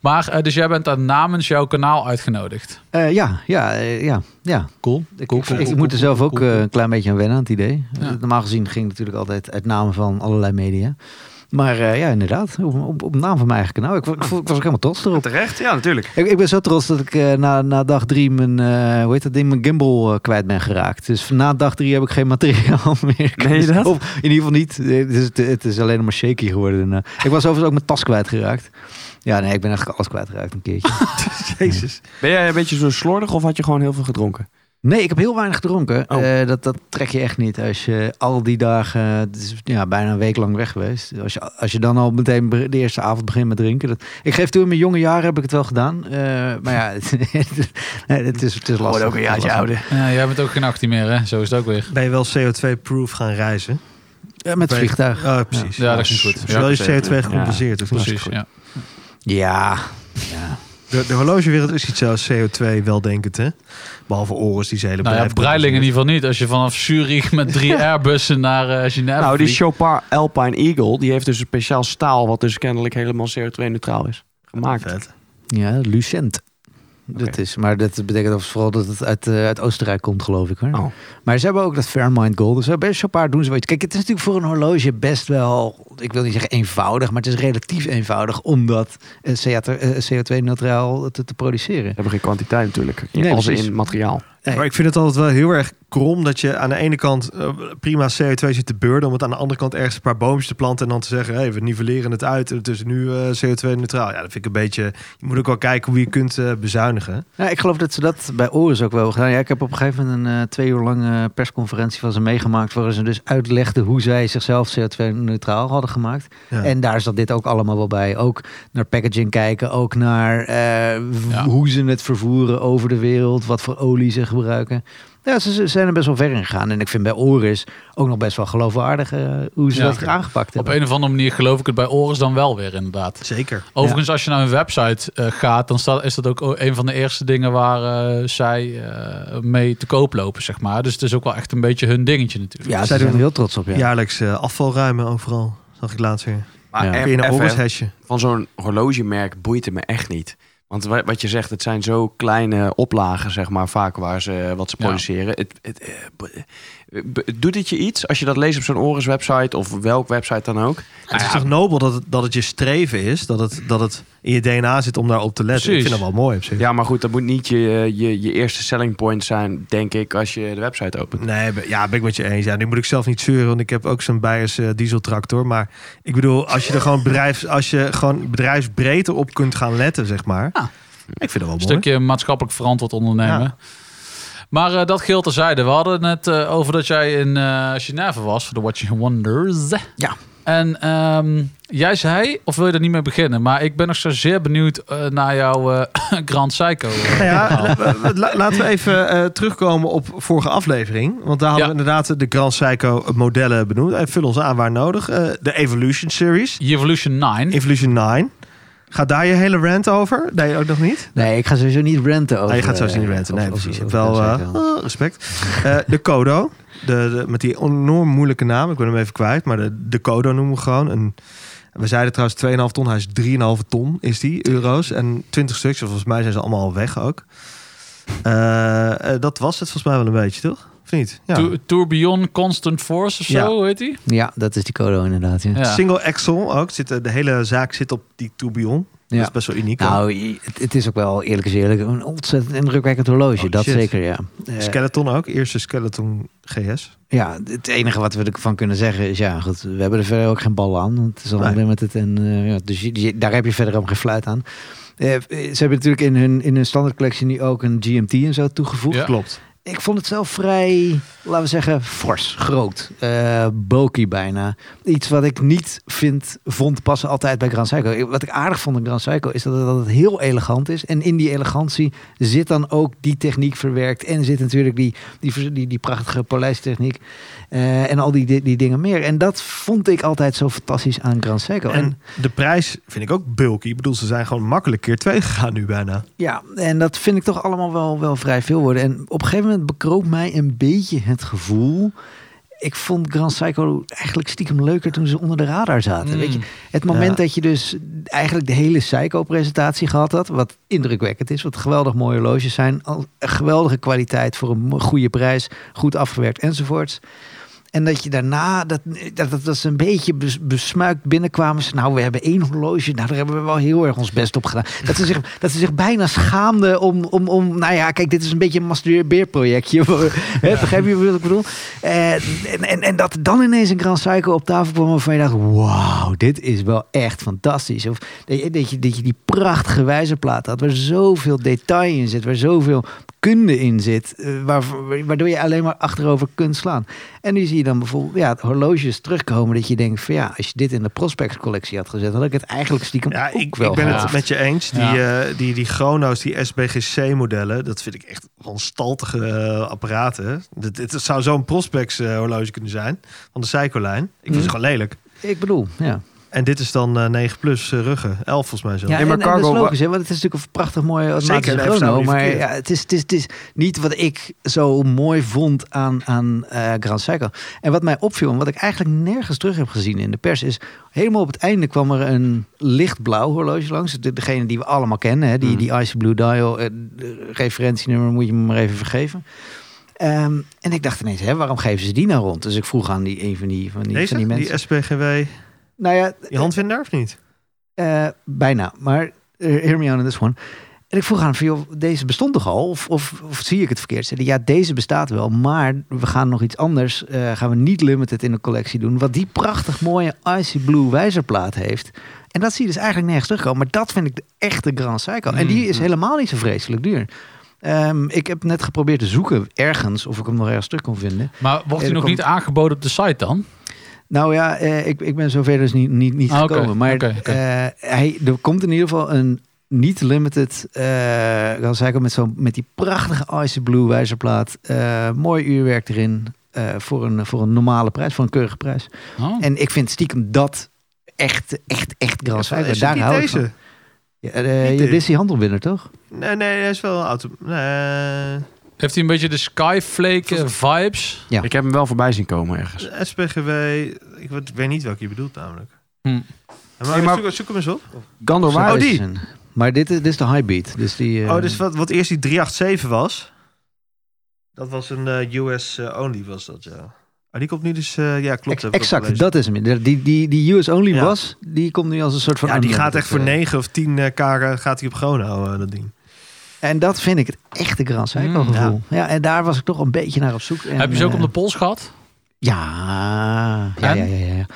Speaker 2: Maar, eh, dus jij bent daar namens jouw kanaal uitgenodigd.
Speaker 1: Eh, ja, ja, eh, ja, ja.
Speaker 2: Cool.
Speaker 1: Ik,
Speaker 2: Cool,
Speaker 1: ik-
Speaker 2: cool,
Speaker 1: ik
Speaker 2: cool,
Speaker 1: moet er
Speaker 2: cool,
Speaker 1: zelf
Speaker 2: cool,
Speaker 1: ook
Speaker 2: cool,
Speaker 1: eh,
Speaker 2: cool.
Speaker 1: een klein beetje aan wennen aan het idee. Eh,
Speaker 2: Ja.
Speaker 1: Normaal gezien ging het natuurlijk altijd uit namen van allerlei media. Maar eh, ja, inderdaad, op, op, op naam van mijn eigen kanaal. Ik, wa- ik vo- ik was ook helemaal trots erop.
Speaker 3: Terecht? Ja, natuurlijk.
Speaker 1: Ik, ik ben zo trots dat ik eh, na, na dag drie mijn, eh, hoe heet dat ding, mijn gimbal eh, kwijt ben geraakt. Dus na dag drie heb ik geen materiaal meer. Dus
Speaker 3: Meen je dat?
Speaker 1: Of in ieder geval niet. Het is, het is alleen nog maar shaky geworden. En, eh, ik was overigens ook mijn tas kwijtgeraakt. Ja, nee, ik ben echt alles kwijtgeraakt een keertje.
Speaker 5: Jezus.
Speaker 3: Ben jij een beetje zo slordig of had je gewoon heel veel gedronken?
Speaker 1: Nee, ik heb heel weinig gedronken.
Speaker 3: Oh.
Speaker 1: Eh, dat, dat trek je echt niet. Als je al die dagen, het is ja, bijna een week lang weg geweest. Als je, als je dan al meteen be- de eerste avond begint met drinken. Dat, ik geef toe, in mijn jonge jaren heb ik het wel gedaan. Eh, maar ja, het, het, is, het is lastig.
Speaker 3: Wordt ook een jaartje
Speaker 1: Het is lastig.
Speaker 3: ouder.
Speaker 2: Ja, jij bent ook geen 18 meer, hè? Zo is het ook weer.
Speaker 5: Ben je wel CO2-proof gaan reizen?
Speaker 1: Ja, met het
Speaker 5: Weet-
Speaker 1: vliegtuig.
Speaker 5: Oh, precies.
Speaker 2: Ja, dat is niet goed. Ja,
Speaker 5: Zowel je
Speaker 3: precies.
Speaker 5: CO2 gecompenseerd of niet?
Speaker 2: Precies, ja.
Speaker 1: Ja,
Speaker 5: De, de horlogewereld is iets als CO2 weldenkend, hè? Behalve Oris, die zijn hele
Speaker 2: Nou ja,
Speaker 5: bedrijf-
Speaker 2: Breilingen in ieder geval niet. Als je vanaf Zurich met drie Airbussen naar eh Genève
Speaker 3: nou, die
Speaker 2: vliegt.
Speaker 3: Chopin Alpine Eagle, die heeft dus een speciaal staal... wat dus kennelijk helemaal CO2-neutraal is. Gemaakt.
Speaker 5: Vet.
Speaker 1: ja Lucent. Dat
Speaker 3: Oké.
Speaker 1: is, maar dat betekent dat vooral dat het uit, eh, uit Oostenrijk komt, geloof ik. Hoor.
Speaker 3: Oh.
Speaker 1: Maar ze hebben ook dat Fairmind Gold. Dus ze hebben best wel een paar doen ze weet. Kijk, het is natuurlijk voor een horloge best wel, ik wil niet zeggen eenvoudig, maar het is relatief eenvoudig om dat eh, CO2-neutraal te, te produceren.
Speaker 3: Ze hebben geen kwantiteit natuurlijk. In-
Speaker 1: Nee,
Speaker 3: als
Speaker 1: precies.
Speaker 3: in materiaal.
Speaker 1: Nee.
Speaker 5: Maar ik vind het altijd wel heel erg krom dat je aan de ene kant eh, prima CO2 zit te beurden... om het aan de andere kant ergens een paar boomjes te planten... en dan te zeggen, hey, we nivelleren het uit en het is nu eh, CO2-neutraal. Ja, dat vind ik een beetje... Je moet ook wel kijken hoe je kunt eh, bezuinigen.
Speaker 1: Ja, Nou, ik geloof dat ze dat bij Oris ook wel hebben gedaan. Ja, ik heb op een gegeven moment een eh, twee uur lange persconferentie van ze meegemaakt... waarin ze dus uitlegden hoe zij zichzelf CO2-neutraal hadden gemaakt.
Speaker 5: Ja.
Speaker 1: En daar zat dit ook allemaal wel bij. Ook naar packaging kijken, ook naar eh, w-
Speaker 2: Ja.
Speaker 1: hoe ze het vervoeren over de wereld, wat voor olie ze gebruiken. Ja, ze, ze zijn er best wel ver in gegaan. En ik vind bij Oris ook nog best wel geloofwaardig eh, hoe ze
Speaker 2: Ja.
Speaker 1: dat aangepakt
Speaker 2: Op
Speaker 1: hebben.
Speaker 2: een of andere manier geloof ik het bij Oris dan wel weer, inderdaad.
Speaker 5: Zeker.
Speaker 2: Overigens, als je naar hun website eh, gaat, dan staat, is dat ook o- een van de eerste dingen waar eh, zij eh, mee te koop lopen, zeg maar. Dus het is ook wel echt een beetje hun dingetje natuurlijk.
Speaker 1: Ja, ze
Speaker 5: Zij
Speaker 1: zijn
Speaker 5: doen-
Speaker 1: er heel trots op, ja.
Speaker 5: Jaarlijks eh, afvalruimen overal, zag ik laatst weer.
Speaker 1: Maar
Speaker 3: Maar
Speaker 1: Ja.
Speaker 5: nou Kun je naar Oris hesje.
Speaker 3: van zo'n horlogemerk boeit het me echt niet. Want wa- wat je zegt, het zijn zo kleine oplagen, zeg maar, vaak waar ze eh, wat ze
Speaker 2: Ja.
Speaker 3: produceren. Het, het, eh, b- b- doet het je iets als je dat leest op zo'n Oris website of welk website dan ook?
Speaker 5: Het is toch nobel dat het, dat het je streven is, dat het, dat het in je DNA zit om daarop te letten.
Speaker 2: Precies.
Speaker 5: Ik vind dat wel mooi op zich.
Speaker 3: Ja, maar goed, dat moet niet je, eh, je, je eerste selling point zijn, denk ik, als je de website opent.
Speaker 5: Nee, be- ja, ben ik met je eens. Ja, nu moet ik zelf niet zeuren, want ik heb ook zo'n Bias eh, dieseltractor. Maar ik bedoel, als je er gewoon, bedrijfs, als je gewoon bedrijfsbreedte op kunt gaan letten, zeg maar.
Speaker 2: Ja.
Speaker 5: Ik vind dat wel mooi.
Speaker 2: Een stukje maatschappelijk verantwoord ondernemen.
Speaker 5: Ja.
Speaker 2: Maar eh, dat geheel terzijde. We hadden het eh, over dat jij in eh Genève was voor de Watching Wonders.
Speaker 1: Ja.
Speaker 2: En ehm, jij zei, of wil je er niet mee beginnen? Maar ik ben nog zozeer benieuwd eh, naar jouw eh, Grand Psycho. eh,
Speaker 5: Nou ja,
Speaker 2: verhaal.
Speaker 5: la- la- la- laten we even eh, terugkomen op vorige aflevering. Want daar hadden
Speaker 2: Ja.
Speaker 5: we inderdaad de Grand Psycho modellen benoemd. En vul ons aan waar nodig. Eh, de Evolution Series,
Speaker 2: Evolution 9.
Speaker 5: Evolution 9. Gaat daar je hele rant over? Nee, ook nog niet?
Speaker 1: Nee, ik ga sowieso niet renten over.
Speaker 5: Ah, je gaat sowieso niet
Speaker 1: eh,
Speaker 5: renten.
Speaker 1: over-
Speaker 5: Nee,
Speaker 1: over-
Speaker 5: precies. Je hebt
Speaker 1: over
Speaker 5: wel
Speaker 1: Grand
Speaker 5: eh,
Speaker 1: Cycle.
Speaker 5: eh, respect. Eh, de Kodo. De, de- met die enorm moeilijke naam. Ik ben hem even kwijt. Maar de, de Kodo noemen we gewoon. Een, we zeiden trouwens 2,5 ton. Hij is 3,5 ton, is die, euro's. En 20 stuks. Volgens mij zijn ze allemaal al weg ook. Eh, eh, dat was het volgens mij wel een beetje, toch? Of niet? Ja.
Speaker 2: Tour Tourbillon Constant Force of zo, heet die?
Speaker 1: Ja, dat is die code inderdaad. Ja.
Speaker 2: Ja.
Speaker 5: Single axle ook. Zit, eh, de hele zaak zit op die tourbillon.
Speaker 1: Ja.
Speaker 5: Dat is best wel uniek. hoor.
Speaker 1: Nou, i- het, het is ook wel eerlijk is eerlijk een ontzettend indrukwekkend horloge.
Speaker 5: Oh,
Speaker 1: dat
Speaker 5: shit.
Speaker 1: zeker, ja. Eh,
Speaker 5: Skeleton ook. Eerste Skeleton GS.
Speaker 1: ja. Het enige wat we ervan kunnen zeggen is, ja, goed, we hebben er verder ook geen bal aan. Want het is allemaal
Speaker 5: Nee.
Speaker 1: limited en eh, ja, dus je- je- daar heb je verder helemaal geen fluit aan. Eh, eh, ze hebben natuurlijk in hun, in hun standaardcollectie nu ook een GMT en zo toegevoegd.
Speaker 2: Ja.
Speaker 5: Klopt.
Speaker 1: Ik vond het zelf vrij, laten we zeggen, fors, groot, eh bulky bijna. Iets wat ik niet vind, vond passen altijd bij Grand Seiko. Ik- Wat ik aardig vond aan Grand Seiko is dat het, dat het heel elegant is. En in die elegantie zit dan ook die techniek verwerkt. En zit natuurlijk die, die, vers- die, die prachtige polijstechniek eh, en al die, die, die dingen meer. En dat vond ik altijd zo fantastisch aan Grand Seiko. En,
Speaker 5: En de prijs vind ik ook bulky. Ik bedoel, ze zijn gewoon makkelijk keer twee gegaan nu bijna.
Speaker 1: ja, en dat vind ik toch allemaal wel, wel vrij veel worden. En op een gegeven moment bekroop mij een beetje het gevoel... Ik vond Grand Psycho eigenlijk stiekem leuker toen ze onder de radar zaten.
Speaker 2: Mm.
Speaker 1: Weet je, het moment
Speaker 5: Ja.
Speaker 1: dat je dus eigenlijk de hele Psycho-presentatie gehad had, wat indrukwekkend is, wat geweldig mooie horloges zijn, al- een geweldige kwaliteit voor een mo- goede prijs, goed afgewerkt enzovoorts. En dat je daarna, dat, dat, dat, dat ze een beetje bes- besmuikt binnenkwamen. Ze, nou, we hebben één horloge. Nou, daar hebben we wel heel erg ons best op gedaan. Dat ze zich, dat ze zich bijna schaamden om, om, om... Nou ja, kijk, dit is een beetje een masturbeerprojectje. Hè, Begrijp je wat ik bedoel? Eh, en, en, en dat dan ineens een Grand Suiker op tafel kwam waarvan je dacht... Wauw, dit is wel echt fantastisch. Of dat je, dat je, dat je die prachtige wijzerplaat had... waar zoveel detail in zit, waar zoveel kunde in zit... eh, waar, waardoor je alleen maar achterover kunt slaan. En nu zie je dan bijvoorbeeld ja, horloges terugkomen... dat je denkt van ja, als je dit in de Prospects collectie had gezet... had ik het eigenlijk stiekem
Speaker 5: Ja,
Speaker 1: ook
Speaker 5: ik,
Speaker 1: wel
Speaker 5: ik ben
Speaker 1: gehad.
Speaker 5: het met je eens. Die,
Speaker 2: Ja.
Speaker 5: eh, die, die Chrono's, die SBGC-modellen, dat vind ik echt wanstaltige eh, apparaten. Dit, dit zou zo'n Prospects-horloge kunnen zijn van de Seiko-lijn. Ik vind
Speaker 1: Mm.
Speaker 5: ze gewoon lelijk.
Speaker 1: Ik bedoel, ja.
Speaker 5: En dit is dan eh 9 plus eh, ruggen, 11 volgens mij zo.
Speaker 1: Ja,
Speaker 3: Nee, maar
Speaker 1: en, en dat
Speaker 3: cargo
Speaker 1: is
Speaker 3: wa-
Speaker 1: logisch, hè, want het is natuurlijk een prachtig mooie
Speaker 5: Zeker,
Speaker 1: automatische
Speaker 5: daar heeft
Speaker 1: chrono.
Speaker 5: ze nou
Speaker 1: Maar
Speaker 5: niet
Speaker 1: ja, het, is, het, is, het is niet wat ik zo mooi vond aan, aan eh, Grand Seiko. En wat mij opviel, en wat ik eigenlijk nergens terug heb gezien in de pers... is helemaal op het einde kwam er een lichtblauw horloge langs. De- Degene die we allemaal kennen, hè, die,
Speaker 3: Mm.
Speaker 1: die Icy Blue Dial. eh, de referentienummer moet je me maar even vergeven. Ehm, en ik dacht ineens, hè, waarom geven ze die nou rond? Dus ik vroeg aan die, een van die, van die,
Speaker 5: Deze,
Speaker 1: van die
Speaker 5: die,
Speaker 1: mensen.
Speaker 5: SBGW,
Speaker 1: nou ja,
Speaker 5: die handvinder of niet?
Speaker 1: eh, bijna, maar eh, hear me out on this one. En ik vroeg aan van, joh, deze bestond toch al? Of, of, of zie ik het verkeerd? Zeiden, ja, deze bestaat wel, maar we gaan nog iets anders. eh, gaan we niet limited in de collectie doen. Wat die prachtig mooie Icy Blue wijzerplaat heeft. En dat zie je dus eigenlijk nergens terugkomen. Maar dat vind ik de echte Grand Cycle. En die is helemaal niet zo vreselijk duur. Ehm, ik heb net geprobeerd te zoeken ergens of ik hem nog ergens terug kon vinden.
Speaker 2: Maar wordt
Speaker 1: Ja,
Speaker 2: die
Speaker 1: er
Speaker 2: nog
Speaker 1: komt-
Speaker 2: niet aangeboden op de site dan?
Speaker 1: Nou ja, eh, ik, ik ben zover dus niet, niet, niet
Speaker 2: Ah, oké,
Speaker 1: gekomen. Maar
Speaker 2: oké, oké.
Speaker 1: eh, hij, er komt in ieder geval een niet-limited eh Grand Seiko met, zo'n- met die prachtige Icy Blue wijzerplaat. Eh, mooi uurwerk erin eh, voor, een, voor een normale prijs, voor een keurige prijs.
Speaker 2: Oh.
Speaker 1: En ik vind stiekem dat echt, echt, echt Grand Seiko.
Speaker 5: Is het
Speaker 1: Daar
Speaker 5: niet
Speaker 1: hou ik
Speaker 5: deze?
Speaker 1: van. Ja, eh,
Speaker 5: Niet
Speaker 1: ja, dit
Speaker 5: dit.
Speaker 1: is die handelbinder, toch?
Speaker 5: Nee, nee, hij is wel een auto. Nee,
Speaker 2: Heeft hij een beetje de Skyflake eh, vibes?
Speaker 1: Ja.
Speaker 3: Ik heb hem wel voorbij zien komen ergens.
Speaker 5: SBGW, ik weet, ik weet niet welke je bedoelt namelijk.
Speaker 2: Hm.
Speaker 5: Ja, Maar,
Speaker 3: Nee, maar-
Speaker 5: zoek, zoek hem eens op.
Speaker 3: Gandor, waar,
Speaker 1: Zo
Speaker 5: Oh,
Speaker 1: is
Speaker 5: die.
Speaker 1: het een- Maar dit is, dit is de high beat. Dus die, eh,
Speaker 5: Oh, dus wat, wat eerst die 387 was, dat was een eh, US eh, only was dat, ja. Ah, die komt nu dus, eh, ja klopt.
Speaker 1: ex-
Speaker 5: heb ik ook
Speaker 1: exact,
Speaker 5: gelezen.
Speaker 1: dat is hem. Die- Die, die, die US only
Speaker 5: Ja.
Speaker 1: was, die komt nu als een soort van...
Speaker 5: Ja, die
Speaker 1: unlimited,
Speaker 5: gaat echt voor
Speaker 1: eh.
Speaker 5: 9 of 10 eh, karen gaat hij op gewoon houden, eh, dat ding.
Speaker 1: En dat vind ik het echte Grand Cycle
Speaker 2: Mm,
Speaker 1: gevoel. Ja. en daar was ik toch een beetje naar op zoek. En,
Speaker 2: Heb je ze ook
Speaker 1: eh,
Speaker 2: op de pols gehad?
Speaker 1: Ja, ja,
Speaker 2: En?
Speaker 1: ja, ja, ja.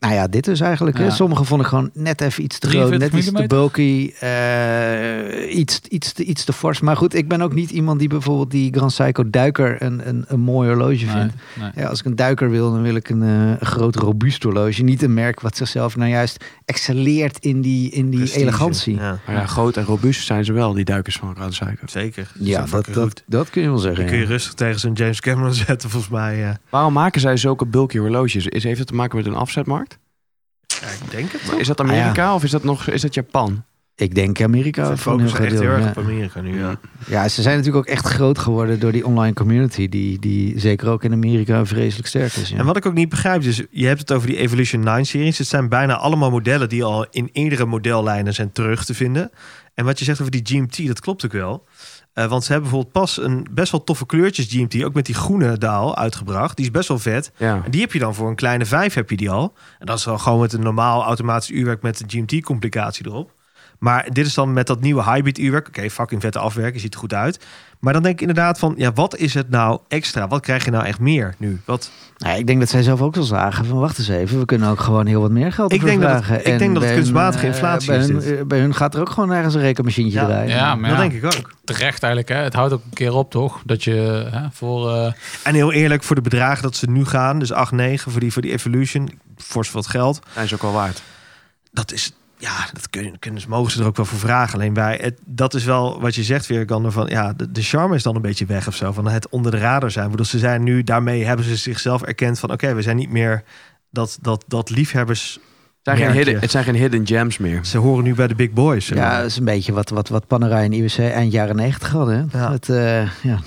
Speaker 1: Nou ja, dit dus eigenlijk.
Speaker 2: Ja.
Speaker 1: Hè. Sommige vond ik gewoon net even iets te groot, net
Speaker 2: 43
Speaker 1: iets te bulky, eh, iets, iets, te, iets te fors. Maar goed, ik ben ook niet iemand die bijvoorbeeld die Grand Psycho duiker een, een, een mooi horloge vindt.
Speaker 2: nee.
Speaker 1: Ja, als ik een duiker wil, dan wil ik een eh, een groot robuust horloge. Niet een merk wat zichzelf nou juist excelleert in die, in die
Speaker 5: Prestige.
Speaker 1: elegantie. Ja,
Speaker 5: Ja,
Speaker 3: Maar ja, groot en robuust zijn ze wel, die duikers van Grand Seiko.
Speaker 5: zeker. is
Speaker 1: dat,
Speaker 5: fucking
Speaker 1: dat, dat kun je wel zeggen.
Speaker 5: Die kun je
Speaker 1: ja.
Speaker 5: rustig tegen zo'n James Cameron zetten, volgens mij. eh.
Speaker 3: Waarom maken zij zulke bulky horloges? Is, heeft het te maken met een afzetmarkt?
Speaker 5: Ja, ik denk het.
Speaker 3: Is dat Amerika of is dat, nog, is dat Japan?
Speaker 1: Ik denk Amerika.
Speaker 5: Ze
Speaker 1: voor een heel
Speaker 5: focussen
Speaker 1: groot
Speaker 5: echt
Speaker 1: deel,
Speaker 5: heel erg
Speaker 1: ja.
Speaker 5: op Amerika nu, ja.
Speaker 1: Ja, ze zijn natuurlijk ook echt groot geworden door die online community, die, die zeker ook in Amerika vreselijk sterk is. Ja.
Speaker 5: En wat ik ook niet begrijp, dus je hebt het over die Evolution 9-series. Het zijn bijna allemaal modellen die al in eerdere modellijnen zijn terug te vinden. En wat je zegt over die GMT, dat klopt ook wel. Eh, want ze hebben bijvoorbeeld pas een best wel toffe kleurtjes GMT, ook met die groene daal uitgebracht. Die is best wel vet.
Speaker 3: Ja.
Speaker 5: En die heb je dan voor een kleine vijf heb je die al. En dat is dan gewoon met een normaal automatisch uurwerk met de GMT-complicatie erop. Maar dit is dan met dat nieuwe hybrid uurwerk. Oké, fucking vette afwerking, ziet er goed uit. Maar dan denk ik inderdaad van, ja, wat is het nou extra? Wat krijg je nou echt meer nu? Wat,
Speaker 1: Nou, ik denk dat zij zelf ook wel zagen van wacht eens even, we kunnen ook gewoon heel wat meer geld
Speaker 5: Ik
Speaker 1: ervoor
Speaker 5: denk dat het-
Speaker 1: vragen.
Speaker 5: ik denk dat het
Speaker 1: bij hun,
Speaker 5: kunstmatige
Speaker 1: eh,
Speaker 5: inflatie
Speaker 1: bij
Speaker 5: is
Speaker 1: hun,
Speaker 5: dit.
Speaker 1: eh, bij hun gaat er ook gewoon ergens een rekenmachientje
Speaker 5: Ja.
Speaker 1: draaien.
Speaker 2: Ja, maar
Speaker 5: dat
Speaker 2: ja,
Speaker 5: denk ik ook.
Speaker 2: terecht eigenlijk. Hè. Het houdt ook een keer op, toch? Dat je hè, voor... eh,
Speaker 5: En heel eerlijk, voor de bedragen dat ze nu gaan, dus 8, 9 voor die, voor die Evolution, fors wat geld.
Speaker 3: Zijn ze ook wel waard.
Speaker 5: Dat is, ja, dat kunnen, kunnen ze, mogen ze er ook wel voor vragen. Alleen wij, het, dat is wel wat je zegt, Weerkander, van ja, de, de charme is dan een beetje weg of zo. Van het onder de radar zijn. Ik bedoel, ze zijn nu, daarmee hebben ze zichzelf erkend van oké, we zijn niet meer dat, dat, dat liefhebbers,
Speaker 3: Het zijn, geen
Speaker 5: Merk je.
Speaker 3: hidden, het zijn geen hidden gems meer.
Speaker 5: ze horen nu bij de big boys. zeg
Speaker 1: Ja,
Speaker 5: maar.
Speaker 1: dat is een beetje wat, wat, wat Panerai en IWC eind jaren negentig hadden. hè.
Speaker 5: Ja.
Speaker 1: Het, eh, ja,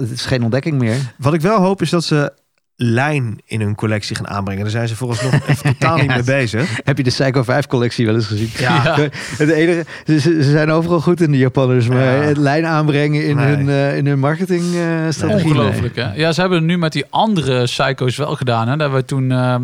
Speaker 1: het is geen ontdekking meer.
Speaker 5: Wat ik wel hoop is dat ze lijn in hun collectie gaan aanbrengen. Daar zijn ze volgens nog even totaal niet mee bezig.
Speaker 1: Heb je de Psycho 5 collectie wel eens gezien?
Speaker 2: Ja.
Speaker 1: Het enige, ze, ze ze zijn overal goed in de Japanners, maar
Speaker 5: Ja.
Speaker 1: het lijn aanbrengen in
Speaker 5: Nee.
Speaker 1: hun, eh, in hun marketingstrategie.
Speaker 2: Ongelooflijk, hè? Ja, ze hebben het nu met die andere psycho's wel gedaan. Hè? Dat we toen, ehm,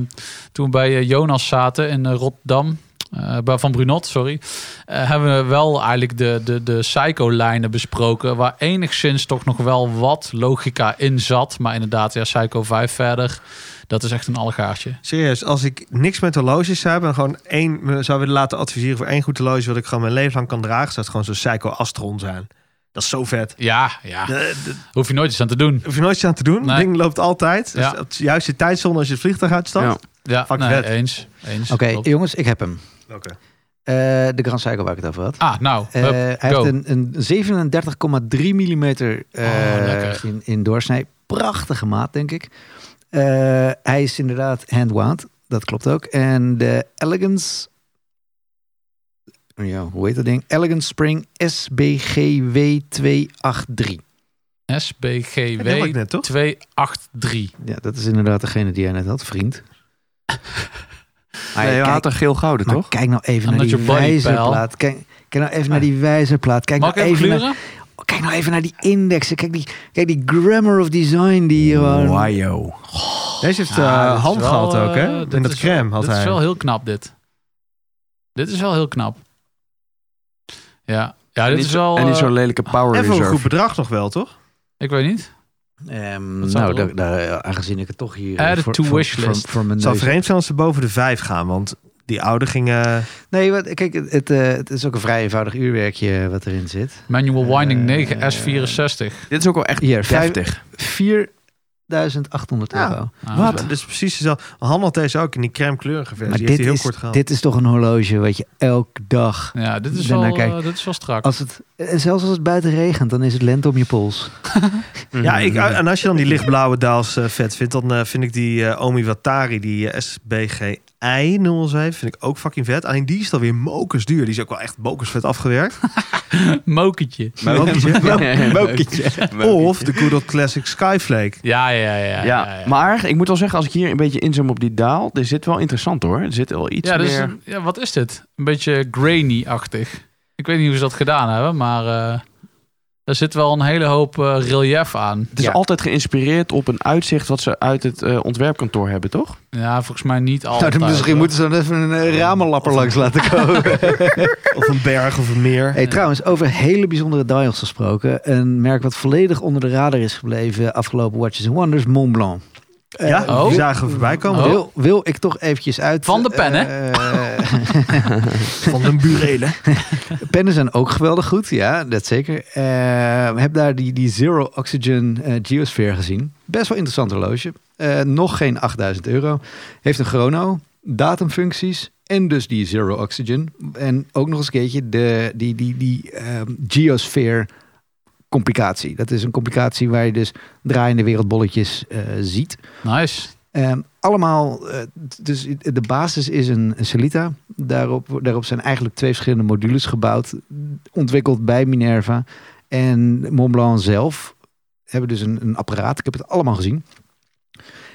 Speaker 2: toen bij eh, Jonas zaten in eh, Rotterdam. eh, bij van Brunot, sorry. eh, hebben we wel eigenlijk de, de, de psycho-lijnen besproken. Waar enigszins toch nog wel wat logica in zat. Maar inderdaad, ja, Psycho 5 verder. Dat is echt een allegaartje.
Speaker 5: Serieus, als ik niks met horloges zou hebben en gewoon één me zou willen laten adviseren voor één goed horloge wat ik gewoon mijn leven lang kan dragen, zou het gewoon zo'n Psycho Astron zijn. Dat is zo vet.
Speaker 2: Ja, ja.
Speaker 5: De- de-
Speaker 2: Hoef je nooit iets aan te doen.
Speaker 5: Hoef je nooit iets aan te doen.
Speaker 2: Nee.
Speaker 5: Het ding loopt altijd. Dus
Speaker 2: Ja.
Speaker 5: op de juiste tijdzone als je het vliegtuig
Speaker 3: Ja.
Speaker 5: uitstapt.
Speaker 2: Ja,
Speaker 5: Fuck
Speaker 2: nee,
Speaker 5: vet.
Speaker 2: eens. eens
Speaker 1: Oké,
Speaker 2: Klopt.
Speaker 1: jongens, ik heb hem.
Speaker 5: Oké.
Speaker 1: Eh, de Grand Cycle waar ik het over had.
Speaker 2: Ah, nou.
Speaker 1: Eh,
Speaker 2: hup,
Speaker 1: hij
Speaker 2: go.
Speaker 1: heeft een, een 37,3 mm
Speaker 2: Oh, lekker.
Speaker 1: eh, in, in doorsnij. Prachtige maat, denk ik. Eh, hij is inderdaad handwound. Dat klopt ook. En de Elegance... Ja, hoe heet dat ding? Elegance Spring SBGW283.
Speaker 5: Dat heb ik
Speaker 2: SBGW
Speaker 5: net, toch?
Speaker 2: 283.
Speaker 1: Ja, dat is inderdaad degene die jij net had, vriend. Maar
Speaker 3: Nee, je
Speaker 1: kijk-
Speaker 3: had een geel gouden,
Speaker 1: maar
Speaker 3: toch?
Speaker 1: kijk nou even
Speaker 2: Omdat
Speaker 1: naar
Speaker 2: je
Speaker 1: die
Speaker 2: body Ah.
Speaker 1: wijzerplaat. Kijk, kijk nou even naar die wijzerplaat. Kijk
Speaker 2: Mag ik
Speaker 1: nou
Speaker 2: even
Speaker 1: even naar-
Speaker 2: gluren?
Speaker 1: Kijk nou even naar die indexen. Kijk die, kijk die grammar of design die hier eh, gewoon...
Speaker 3: Wajo.
Speaker 5: Deze heeft
Speaker 2: Ja,
Speaker 5: eh
Speaker 2: dit is
Speaker 5: hand
Speaker 2: wel,
Speaker 5: gehad ook,
Speaker 2: eh,
Speaker 5: hè?
Speaker 2: dit
Speaker 5: In dat
Speaker 2: is
Speaker 5: crème
Speaker 2: wel-
Speaker 5: had
Speaker 2: dit
Speaker 5: hij.
Speaker 2: is wel heel knap, dit. Dit is wel heel knap. Ja, ja
Speaker 3: En
Speaker 2: dit
Speaker 3: niet,
Speaker 2: is wel...
Speaker 3: en niet
Speaker 2: eh,
Speaker 3: zo'n lelijke power
Speaker 5: Even een
Speaker 3: reserve.
Speaker 5: goed bedrag nog wel, toch?
Speaker 2: ik weet niet.
Speaker 1: Ehm,
Speaker 2: Wat staat
Speaker 1: nou,
Speaker 2: erop?
Speaker 1: daar, daar, aangezien ik het toch hier... eh,
Speaker 2: Add it to
Speaker 1: voor,
Speaker 2: wishlist.
Speaker 1: Voor, voor mijn
Speaker 5: Het zou
Speaker 1: neus-
Speaker 5: vreemd zijn als ze boven de vijf gaan, want die oude gingen...
Speaker 1: Nee, wat, kijk, het, het, eh, het is ook een vrij eenvoudig uurwerkje eh, wat erin zit.
Speaker 2: Manual Winding
Speaker 1: Eh,
Speaker 2: 9 S64.
Speaker 3: Dit is ook wel echt
Speaker 1: Hier, vijf-
Speaker 3: deftig.
Speaker 1: 4.800
Speaker 5: Ja.
Speaker 1: euro.
Speaker 2: Ah,
Speaker 5: Wat?
Speaker 2: zo.
Speaker 5: Dat is precies dezelfde. Han had deze ook in die crème kleurige versie.
Speaker 1: Maar
Speaker 5: Die heeft
Speaker 1: dit
Speaker 5: hij heel
Speaker 1: is,
Speaker 5: kort gehad.
Speaker 1: dit is toch een horloge wat je elke dag...
Speaker 2: Ja, dit is,
Speaker 1: Ben
Speaker 2: wel,
Speaker 1: naar kijk.
Speaker 2: eh, dit is wel strak.
Speaker 1: Als het, eh, zelfs als het buiten regent, dan is het lente om je pols.
Speaker 3: Mhm,
Speaker 5: Ja, ik, eh, en als je dan die lichtblauwe daals eh, vet vindt, dan eh, vind ik die eh Omi Watari, die eh, SBGI 007, vind ik ook fucking vet. Alleen die is dan weer mokers duur. Die is ook wel echt mokers vet afgewerkt.
Speaker 2: Moketje.
Speaker 5: of de Good Old Classic Skyflake.
Speaker 2: Ja, ja, ja. ja,
Speaker 3: Ja, maar ik moet wel zeggen, als ik hier een beetje inzoom op die daal, er zit wel interessant hoor. Er zit wel iets
Speaker 2: Ja, dit is
Speaker 3: meer...
Speaker 2: een- ja, wat is dit? Een beetje grainy-achtig. Ik weet niet hoe ze dat gedaan hebben, maar eh er zit wel een hele hoop eh, relief aan.
Speaker 3: Het is
Speaker 1: Ja.
Speaker 3: altijd geïnspireerd op een uitzicht wat ze uit het eh, ontwerpkantoor hebben, toch?
Speaker 2: Ja, volgens mij niet
Speaker 1: Nou,
Speaker 2: altijd.
Speaker 1: dan Dus misschien
Speaker 2: hoor.
Speaker 1: moeten ze dan even een eh, ramenlapper langs laten komen.
Speaker 5: Of een berg of een meer.
Speaker 1: Hey, trouwens, over hele bijzondere dials gesproken. Een merk wat volledig onder de radar is gebleven afgelopen Watches and Wonders, Montblanc. Eh,
Speaker 5: ja,
Speaker 2: Oh.
Speaker 5: die zagen we voorbij komen.
Speaker 2: Oh.
Speaker 1: Wil, wil ik toch eventjes uit... eh,
Speaker 2: Van de pen, hè?
Speaker 1: hè?
Speaker 5: Van de burelen.
Speaker 1: pennen zijn ook geweldig goed, ja, dat zeker. Eh, heb daar die, die Zero Oxygen eh, Geosphere gezien. Best wel interessant horloge. Eh, nog geen 8000 euro. Heeft een chrono, datumfuncties en dus die Zero Oxygen. En ook nog eens een keertje de, die, die, die ehm, Geosphere complicatie. Dat is een complicatie waar je dus draaiende wereldbolletjes eh, ziet.
Speaker 2: Nice.
Speaker 1: Ehm, allemaal, eh, t- dus de basis is een, een Celita. Daarop, daarop zijn eigenlijk twee verschillende modules gebouwd, ontwikkeld bij Minerva. En Montblanc zelf hebben dus een, een apparaat, ik heb het allemaal gezien.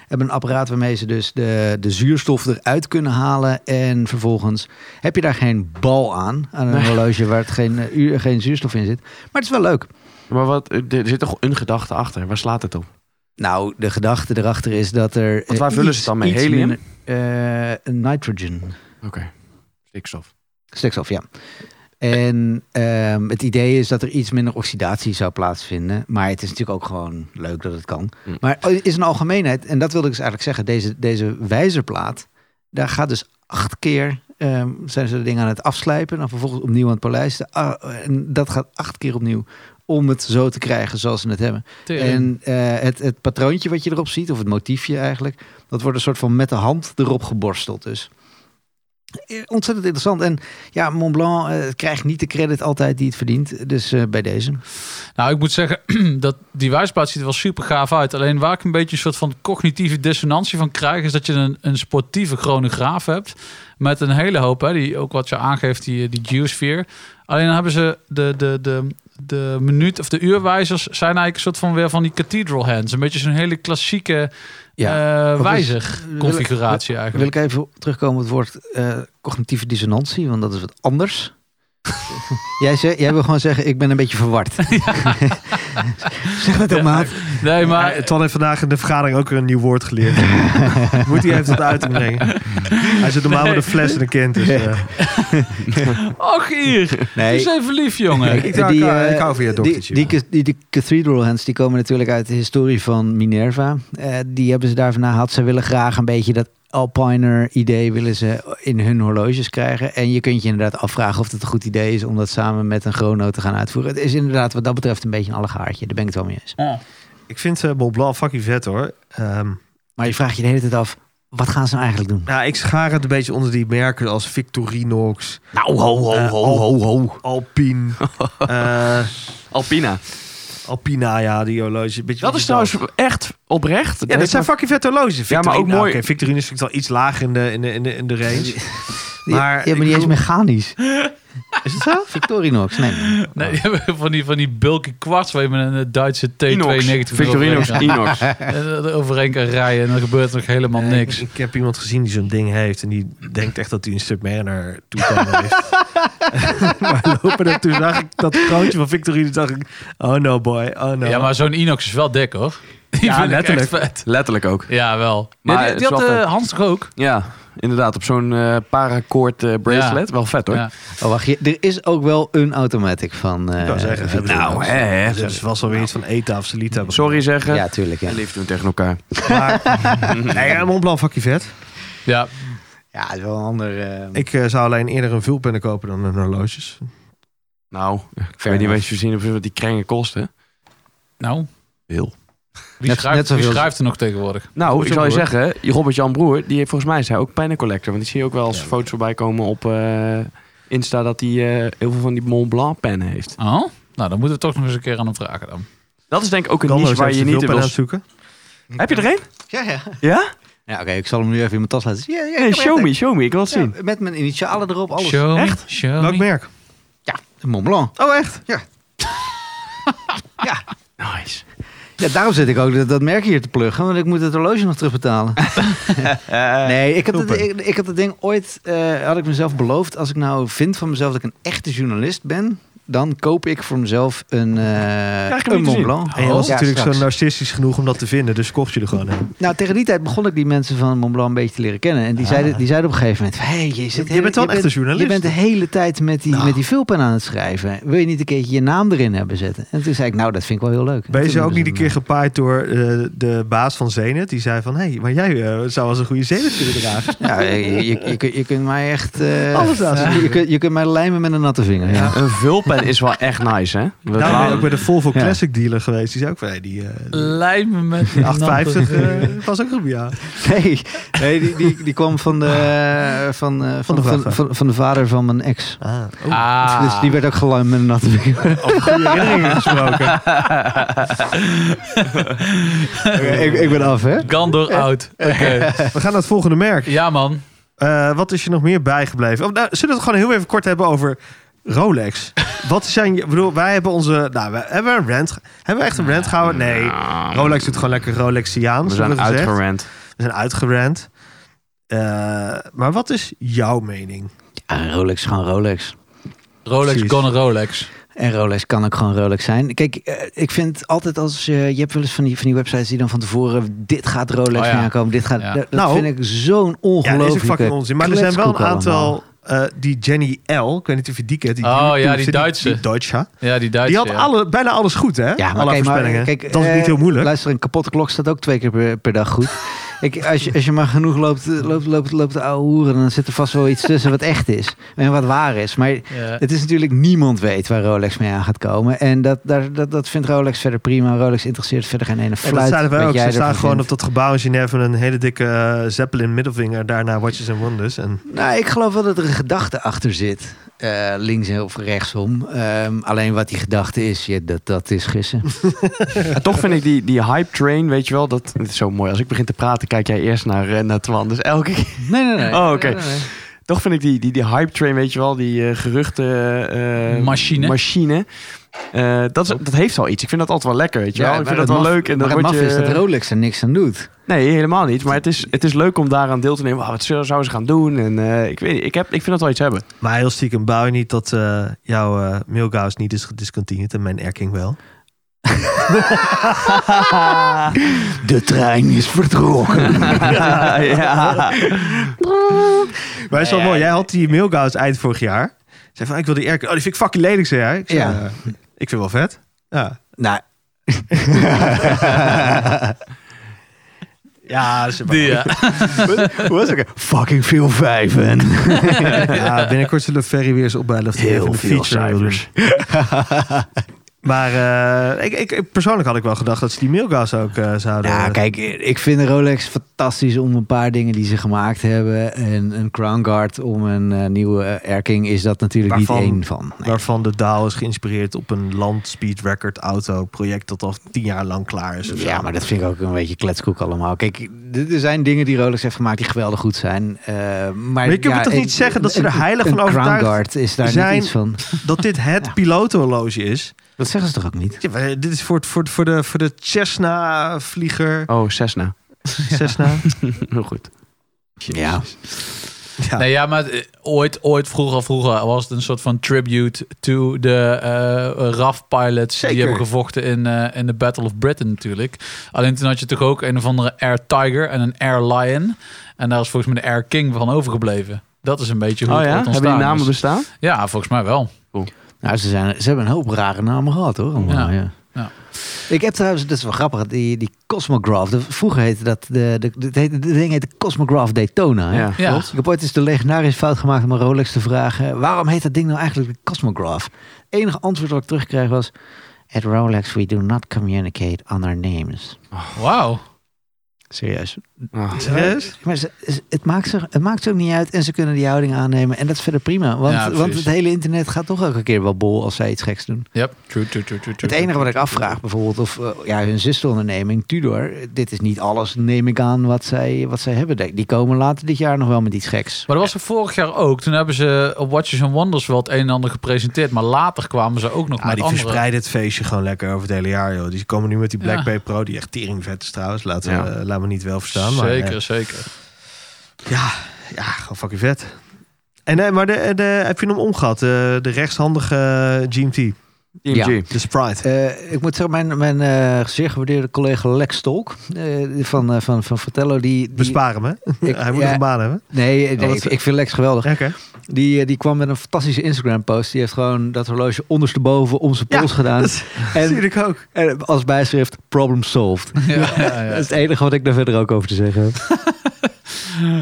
Speaker 1: Hebben een apparaat waarmee ze dus de, de zuurstof eruit kunnen halen. En vervolgens heb je daar geen bal aan, aan een
Speaker 3: Nee.
Speaker 1: horloge waar het geen, eh, uur- geen zuurstof in zit. Maar het is wel leuk.
Speaker 3: Maar wat, eh, er zit toch een gedachte achter? Waar slaat het op?
Speaker 1: Nou, de gedachte erachter is dat er.
Speaker 3: Want waar
Speaker 1: eh,
Speaker 3: vullen
Speaker 1: iets-
Speaker 3: ze het dan mee?
Speaker 1: iets
Speaker 3: Helium?
Speaker 1: minder- eh, een nitrogen.
Speaker 3: Oké. Stikstof.
Speaker 1: Stikstof, ja. En ehm, het idee is dat er iets minder oxidatie zou plaatsvinden. Maar het is natuurlijk ook gewoon leuk dat het kan.
Speaker 3: Mm.
Speaker 1: Maar is een algemeenheid, en dat wilde ik dus eigenlijk zeggen, deze, deze wijzerplaat, daar gaat dus acht keer, ehm, zijn ze de dingen aan het afslijpen, dan vervolgens opnieuw aan het polijsten. Ah, en dat gaat acht keer opnieuw om het zo te krijgen zoals ze het hebben. En eh, het, het patroontje wat je erop ziet, of het motiefje eigenlijk, dat wordt een soort van met de hand erop geborsteld. Dus Eh, ontzettend interessant. En ja, Montblanc eh, krijgt niet de credit altijd die het verdient. Dus eh, bij deze.
Speaker 2: Nou, ik moet zeggen dat die wijsplaat ziet er wel super gaaf uit. Alleen waar ik een beetje een soort van cognitieve dissonantie van krijg, is dat je een, een sportieve chronograaf hebt. Met een hele hoop, hè, die ook wat je aangeeft, die, die geosphere. Alleen dan hebben ze de, de, de, de minuut of de uurwijzers zijn eigenlijk een soort van weer van die cathedral hands. Een beetje zo'n hele klassieke
Speaker 1: Ja.
Speaker 2: eh,
Speaker 1: Of is-
Speaker 2: wijzer configuratie
Speaker 1: wil
Speaker 2: eigenlijk.
Speaker 1: ik even terugkomen op het woord eh, cognitieve dissonantie, want dat is wat anders. jij, ze- jij wil gewoon zeggen, ik ben een beetje verward. zeg dat ook,
Speaker 2: Ja.
Speaker 1: maat.
Speaker 2: Nee, maar
Speaker 1: Eh,
Speaker 5: Maar Twan Eh, heeft vandaag in de vergadering ook weer een nieuw woord geleerd. Moet hij even tot uiting brengen. Hij zit normaal met een fles en een kind. Dus, eh,
Speaker 2: Och hier,
Speaker 1: Nee.
Speaker 2: is even lief jongen.
Speaker 5: Ik hou- ik hou-
Speaker 1: eh,
Speaker 5: ik hou van je doktertje,
Speaker 1: Die,
Speaker 5: maar.
Speaker 1: die, die, die cathedral hands die komen natuurlijk uit de historie van Minerva. Eh, die hebben ze daarvan gehad. Ze willen graag een beetje dat Alpiner idee willen ze in hun horloges krijgen. En je kunt je inderdaad afvragen of het een goed idee is om dat samen met een chrono te gaan uitvoeren. Het is inderdaad wat dat betreft een beetje een allegaartje. Daar ben ik het wel mee eens.
Speaker 2: Ja.
Speaker 5: ik vind eh Mont Blanc fucking vet hoor. Ehm,
Speaker 1: Maar je vraagt je de hele tijd af, wat gaan ze nou eigenlijk doen?
Speaker 5: nou, ik schaar het een beetje onder die merken als Victorinox,
Speaker 1: Nou, ho, ho,
Speaker 5: Eh,
Speaker 1: ho, ho, ho.
Speaker 5: Alpine, eh,
Speaker 3: Alpina.
Speaker 5: Alpina, ja, die horloge. Beetje
Speaker 3: Dat is trouwens echt oprecht.
Speaker 5: Ja, dat zijn fucking vette horloges.
Speaker 3: Ja, maar ook
Speaker 5: Victorine-
Speaker 3: mooi.
Speaker 5: Oké, Victorine is vind ik wel iets lager in de, in de, in de, in de range.
Speaker 1: Maar,
Speaker 5: Maar
Speaker 1: ja, maar
Speaker 5: ik
Speaker 1: die is
Speaker 5: bedoel-
Speaker 1: mechanisch. Is het zo? Victorinox, nee.
Speaker 2: Nee, die hebben van die, van die bulky kwarts waar je met een eh, Duitse T92
Speaker 3: Inox. Victorinox
Speaker 2: overheen
Speaker 3: Inox.
Speaker 2: kan- en er overheen kan rijden en dan gebeurt nog helemaal
Speaker 5: Eh,
Speaker 2: niks.
Speaker 5: Ik, ik heb iemand gezien die zo'n ding heeft en die denkt echt dat hij een Submariner toekomen heeft. maar lopen naartoe zag ik dat kroontje van Victorine, dacht ik, oh no boy, oh no.
Speaker 2: Ja, maar zo'n Inox is wel dik hoor. Die
Speaker 5: Ja,
Speaker 2: vind ik echt
Speaker 5: letterlijk.
Speaker 2: vet.
Speaker 3: Letterlijk ook.
Speaker 2: Ja, wel.
Speaker 3: Maar
Speaker 2: Maar die
Speaker 3: het is
Speaker 2: had
Speaker 3: wel
Speaker 2: eh,
Speaker 3: vet.
Speaker 2: Hans toch ook?
Speaker 3: Ja, inderdaad. Op zo'n eh paracord eh, bracelet. Wel vet hoor.
Speaker 2: Ja.
Speaker 1: Oh, wacht, je- er is ook wel een automatic van. eh,
Speaker 5: Ik wou zeggen,
Speaker 1: Victorinox.
Speaker 5: nou,
Speaker 3: hè, hè.
Speaker 5: dat is wel zo weer iets van ETA of Celita.
Speaker 3: Sorry zeggen.
Speaker 1: Ja, tuurlijk. Ja,
Speaker 3: En lief doen tegen elkaar.
Speaker 5: Maar, nee, ja, Mont Blanc fucking vet.
Speaker 2: Ja,
Speaker 1: ja het is wel een ander. eh,
Speaker 5: Ik eh, zou alleen eerder een vulpennen kopen dan een horloges.
Speaker 3: Nou, ik weet niet
Speaker 1: enough.
Speaker 3: wat je zien of wat die kringen kosten.
Speaker 2: nou.
Speaker 3: Heel.
Speaker 2: Wie,
Speaker 1: Net-
Speaker 2: schrijft,
Speaker 1: net
Speaker 2: wie
Speaker 1: zoveel-
Speaker 2: schrijft er nog tegenwoordig?
Speaker 3: Nou, ik
Speaker 5: Robert-Jan
Speaker 3: zal je
Speaker 5: Broer.
Speaker 3: zeggen, Robert-Jan Broer, die heeft volgens mij is hij ook pennencollector. Want die zie je ook wel als foto's voorbij komen op eh, Insta dat hij eh, heel veel van die Mont Blanc pennen heeft.
Speaker 2: Oh? Nou, dan moeten we toch nog eens een keer aan hem vragen dan.
Speaker 3: Dat is denk ik ook een
Speaker 5: Kan
Speaker 3: niche
Speaker 5: eens
Speaker 3: waar
Speaker 5: even
Speaker 3: je
Speaker 5: de
Speaker 3: niet in
Speaker 5: vulpen
Speaker 3: wil...
Speaker 5: aan zoeken.
Speaker 3: Heb je er een?
Speaker 1: ja, ja.
Speaker 3: Ja?
Speaker 1: ja oké, ik zal hem nu even in mijn tas laten zien. Ja, ja,
Speaker 3: Nee,
Speaker 1: ik heb
Speaker 3: show
Speaker 1: echt-
Speaker 3: me, show me. Ik wil het
Speaker 1: Ja,
Speaker 3: zien.
Speaker 1: met mijn initialen erop, alles.
Speaker 2: Show me,
Speaker 3: Echt?
Speaker 2: show
Speaker 5: Welk
Speaker 2: me.
Speaker 5: merk?
Speaker 1: Ja, Mont Blanc.
Speaker 5: Oh echt?
Speaker 1: Ja.
Speaker 3: Nice.
Speaker 1: Ja, daarom zit ik ook dat, dat merk hier te pluggen, want ik moet het horloge nog terugbetalen. nee, ik had, het,
Speaker 5: Oepen.
Speaker 1: ik, ik had het ding ooit, eh, had ik mezelf beloofd, als ik nou vind van mezelf dat ik een echte journalist ben, dan koop ik voor mezelf een, eh
Speaker 3: hem
Speaker 1: een
Speaker 3: niet te
Speaker 1: Mont
Speaker 3: zien.
Speaker 1: Blanc.
Speaker 5: En je was
Speaker 1: Ja,
Speaker 5: natuurlijk
Speaker 1: straks.
Speaker 5: zo narcistisch genoeg om dat te vinden, dus kocht je er gewoon een.
Speaker 1: Nou, tegen die tijd begon ik die mensen van Mont Blanc een beetje te leren kennen. En die,
Speaker 5: Ah.
Speaker 1: zeiden, die zeiden op een gegeven moment... Hey, je,
Speaker 5: Je
Speaker 1: zit
Speaker 5: bent wel
Speaker 1: je
Speaker 5: een echte journalist.
Speaker 1: Je bent de hele tijd met die,
Speaker 5: Nou.
Speaker 1: met die vulpen aan het schrijven. Wil je niet een keertje je naam erin hebben zitten? En toen zei ik, nou, dat vind ik wel heel leuk. En
Speaker 5: Ben je
Speaker 1: toen
Speaker 5: zo ook
Speaker 1: hebben
Speaker 5: niet
Speaker 1: ze
Speaker 5: dus een keer gepaaid door eh, de baas van Zenit? Die zei van, hé, hey, maar jij eh, zou als een goede Zenit kunnen dragen.
Speaker 1: hem- Ja, je, je, je, kunt- je kunt mij echt... eh,
Speaker 5: Alles aan
Speaker 1: je, je kunt, je kunt mij lijmen met een natte vinger. Ja.
Speaker 3: Een vulpen is wel echt nice, hè? We
Speaker 5: Daar ben
Speaker 3: waren-
Speaker 5: ik ook bij de Volvo
Speaker 1: Ja.
Speaker 5: Classic dealer geweest. Die zei ook van, hey, die... eh,
Speaker 2: Lijm me met
Speaker 5: die 850 eh, was ook goed, ja.
Speaker 1: Nee, nee die, die, die kwam van de, eh, van, eh, van,
Speaker 5: Ah. de
Speaker 1: van,
Speaker 5: vrachtwagen.
Speaker 1: van- van de vader van mijn ex.
Speaker 5: Ah,
Speaker 2: Ah,
Speaker 1: Dus die werd ook geluimd met een natte vinger.
Speaker 5: over goede herinneringen gesproken.
Speaker 1: ik, ik ben af, hè?
Speaker 2: Gandor oud. Oké.
Speaker 5: We gaan naar het volgende merk.
Speaker 2: Ja, man.
Speaker 5: Eh, wat is je nog meer bijgebleven? Oh, nou, zullen we het gewoon heel even kort hebben over Rolex? wat zijn je... ik bedoel, wij hebben onze... Nou, we, hebben we een rant... ge- Hebben we echt een rant gehouden? Oh, Nee. Rolex doet gewoon lekker Rolexiaans.
Speaker 3: Nou, We zijn
Speaker 5: hebben we gezegd.
Speaker 3: uitgerand.
Speaker 5: We zijn uitgerand. Eh, maar wat is jouw mening?
Speaker 1: Ja, Rolex is gewoon Rolex.
Speaker 2: Rolex,
Speaker 5: Precies.
Speaker 2: gone Rolex.
Speaker 1: En Rolex kan ook gewoon Rolex zijn. Kijk, eh, ik vind altijd als je... Je hebt wel eens van die, van die websites die dan van tevoren... Dit gaat Rolex
Speaker 2: Oh ja.
Speaker 1: weer aankomen, dit gaat...
Speaker 2: Ja.
Speaker 1: Dat, dat
Speaker 5: Nou,
Speaker 1: vind ik zo'n
Speaker 5: Ja, dat
Speaker 1: ongelooflijke...
Speaker 5: is ook fucking onzin. Maar er zijn wel een
Speaker 1: kletskoek
Speaker 5: aantal...
Speaker 1: allemaal.
Speaker 5: eh, die Jenny L, ik weet niet of je die kent.
Speaker 2: Oh, ja,
Speaker 5: YouTuber,
Speaker 2: die Duitse.
Speaker 5: Die Deutsche.
Speaker 2: Ja, die Duitse.
Speaker 5: Die had
Speaker 2: ja.
Speaker 5: alle, bijna alles goed, hè?
Speaker 1: Ja, maar
Speaker 5: alle
Speaker 1: kijk, maar,
Speaker 5: voorspellingen.
Speaker 1: kijk,
Speaker 5: dat is
Speaker 1: eh,
Speaker 5: niet heel moeilijk.
Speaker 1: Luister, een kapotte klok staat ook twee keer per, per dag goed. ik, als, je, als je maar genoeg loopt, eh, loopt, loopt, loopt de oude hoeren... dan zit er vast wel iets tussen wat echt is. En wat waar is. Maar
Speaker 2: Ja.
Speaker 1: Het is natuurlijk niemand weet waar Rolex mee aan gaat komen. En dat, daar, dat, dat vindt Rolex verder prima. Rolex interesseert verder geen ene
Speaker 5: En
Speaker 1: fluit.
Speaker 5: dat zeiden wij
Speaker 1: wat
Speaker 5: ook.
Speaker 1: jij
Speaker 5: Ze
Speaker 1: ervan
Speaker 5: staan gewoon op
Speaker 1: vindt.
Speaker 5: dat gebouw in Genève met een hele dikke eh, Zeppelin middelvinger. Daarna Watches and Wonders. En
Speaker 1: Nou, ik geloof wel dat er een gedachte achter zit. Eh, links of rechtsom. Ehm, alleen wat die gedachte is, ja, dat, dat is gissen.
Speaker 3: En toch vind ik die, die hype train, weet je wel, dat het is zo mooi. Als ik begin te praten, kijk jij eerst naar, eh, naar Twan. Dus elke keer.
Speaker 1: Nee, nee, nee.
Speaker 3: Oh, oké.
Speaker 1: Nee, nee, nee.
Speaker 3: Toch vind ik die, die, die hype train, weet je wel, die eh, geruchten... eh,
Speaker 2: Machine.
Speaker 3: machine. Eh, dat, is, dat heeft wel iets. Ik vind dat altijd wel lekker, weet je
Speaker 1: Ja,
Speaker 3: wel. Ik
Speaker 1: maar
Speaker 3: vind dat
Speaker 1: het
Speaker 3: wel
Speaker 1: maf-
Speaker 3: leuk. En dan
Speaker 1: maar het
Speaker 3: word
Speaker 1: maf
Speaker 3: je...
Speaker 1: is dat Rolex er niks aan doet.
Speaker 3: Nee, helemaal niet. Maar het is, het is leuk om daaraan deel te nemen. Wauw, wat zou zou ze gaan doen? En eh, ik, weet, niet, ik, heb, ik vind dat wel iets hebben.
Speaker 5: maar heel stiekem bouw je niet dat eh, jouw eh Milgauss niet is gediscontinued. En mijn Erking wel.
Speaker 1: De trein is vertrokken.
Speaker 3: ja.
Speaker 5: Maar het is wel mooi. Jij had die Milgauss eind vorig jaar. Zei van, ik wil die Erking. Oh, die vind ik fucking lelijk, zei hij. Ik, zei,
Speaker 1: Ja.
Speaker 5: eh, ik vind wel vet. Ja.
Speaker 1: nou,
Speaker 5: Ja, ze
Speaker 2: Die, ja.
Speaker 1: hoe was het? ook? Fucking veel vijven.
Speaker 5: ja, binnenkort zullen we Ferry weer eens opbellen. of die even
Speaker 1: Heel
Speaker 5: een
Speaker 1: veel
Speaker 5: feature wil doen.
Speaker 1: cijfers.
Speaker 5: Maar eh, ik, ik- ik, persoonlijk had ik wel gedacht dat ze die Milgauss ook eh, zouden...
Speaker 1: Ja, Nou, kijk, ik vind Rolex fantastisch om een paar dingen die ze gemaakt hebben. En een Crown Guard om een eh, nieuwe eh, erking is dat natuurlijk
Speaker 5: Waarvan-
Speaker 1: niet één van. Nee.
Speaker 5: Waarvan de DAO is geïnspireerd op een land speed record auto project dat al tien jaar lang klaar is. of zo.
Speaker 1: Dus Ja, maar dat vind ik ook een beetje kletskoek allemaal. Kijk, d- er zijn dingen die Rolex heeft gemaakt die geweldig goed zijn. eh, maar,
Speaker 5: je kunt
Speaker 1: ja,
Speaker 5: me toch niet
Speaker 1: een-
Speaker 5: zeggen dat ze er
Speaker 1: een-
Speaker 5: heilig
Speaker 1: een
Speaker 5: van overtuigd
Speaker 1: Crown Guard is daar
Speaker 5: zijn?
Speaker 1: niet iets van.
Speaker 5: Dat dit het pilotenhorloge is.
Speaker 1: Dat zeggen ze toch ook niet?
Speaker 5: Ja, maar dit is voor, het- voor, voor de, voor de Cessna-vlieger.
Speaker 3: Oh, Cessna.
Speaker 5: Cessna.
Speaker 3: Heel goed.
Speaker 1: Ja.
Speaker 5: Ja.
Speaker 2: Nee, ja, maar eh, ooit, ooit, vroeger, vroeger was het een soort van tribute to de eh RAF pilots
Speaker 5: Zeker.
Speaker 2: die hebben gevochten in, eh, in de Battle of Britain natuurlijk. Alleen toen had je toch ook een of andere Air Tiger en een Air Lion. En daar is volgens mij de Air King van overgebleven. Dat is een beetje hoe
Speaker 3: Oh
Speaker 2: het
Speaker 3: ja?
Speaker 2: ooit
Speaker 3: Hebben
Speaker 2: ontstaan
Speaker 3: die namen
Speaker 2: is.
Speaker 3: bestaan?
Speaker 2: Ja, volgens mij wel.
Speaker 1: Nou, ze, zijn, ze hebben een hoop rare namen gehad hoor. allemaal,
Speaker 2: Ja.
Speaker 1: Ja.
Speaker 2: Ja.
Speaker 1: Ik heb trouwens, dat is wel grappig, die, die Cosmograph. De, vroeger heette dat, de, de, dit heette- dit ding heette Cosmograph Daytona. Hè?
Speaker 3: Ja.
Speaker 2: Ja.
Speaker 1: Ik heb ooit eens de legendarische fout gemaakt om aan Rolex te vragen... waarom heet dat ding nou eigenlijk de Cosmograph? Het enige antwoord dat ik terugkreeg was... At Rolex we do not communicate on our names.
Speaker 2: Wauw.
Speaker 1: Serieus.
Speaker 3: Ah.
Speaker 5: Serieus?
Speaker 1: Maar ze- ze- het, maakt ze, het maakt ze ook niet uit en ze kunnen die houding aannemen. En dat is verder prima. Want,
Speaker 2: Ja, precies.
Speaker 1: want het hele internet gaat toch elke keer wel bol als zij iets geks doen.
Speaker 2: Yep. True, true, true, true, true.
Speaker 1: Het enige wat ik afvraag bijvoorbeeld, of eh, ja, hun zusteronderneming Tudor, dit is niet alles, neem ik aan, wat zij, wat zij hebben. Die komen later dit jaar nog wel met iets geks.
Speaker 2: Maar dat was er vorig jaar ook. Toen hebben ze op Watches and Wonders wel het een en ander gepresenteerd. Maar later kwamen ze ook nog
Speaker 5: Ah,
Speaker 2: met
Speaker 5: die
Speaker 2: andere...
Speaker 5: verspreiden het feestje gewoon lekker over het hele jaar, joh. Die komen nu met die Black
Speaker 2: Ja.
Speaker 5: Bay Pro, die echt teringvet is trouwens. Laten
Speaker 3: Ja.
Speaker 5: we, eh, laat me niet wel verstaan. Maar,
Speaker 2: zeker,
Speaker 5: eh,
Speaker 2: zeker.
Speaker 5: ja, ja, gewoon fucking vet. En eh, maar de, de, heb je hem omgehad? De, de rechtshandige eh, GMT,
Speaker 3: TMG.
Speaker 1: Ja.
Speaker 5: de Sprite.
Speaker 1: Eh, ik moet zeggen, mijn, mijn eh, zeer gewaardeerde collega Lex Tolk eh, van, eh, van, van Fratello, die... die
Speaker 5: Bespaar hem, hè?
Speaker 1: ik-
Speaker 5: Hij moet
Speaker 1: ja,
Speaker 5: nog een baan hebben.
Speaker 1: Nee, nee
Speaker 5: Oh,
Speaker 1: ik,
Speaker 5: wat-
Speaker 1: ik vind Lex geweldig.
Speaker 5: Oké.
Speaker 1: Die, eh, die kwam met een fantastische Instagram-post. Die heeft gewoon dat horloge ondersteboven om zijn pols gedaan.
Speaker 5: dat
Speaker 1: en,
Speaker 5: ik ook.
Speaker 1: en als bijschrift, problem solved.
Speaker 2: Ja, ja,
Speaker 1: Dat
Speaker 2: ja.
Speaker 1: is het enige wat ik daar verder ook over te zeggen heb.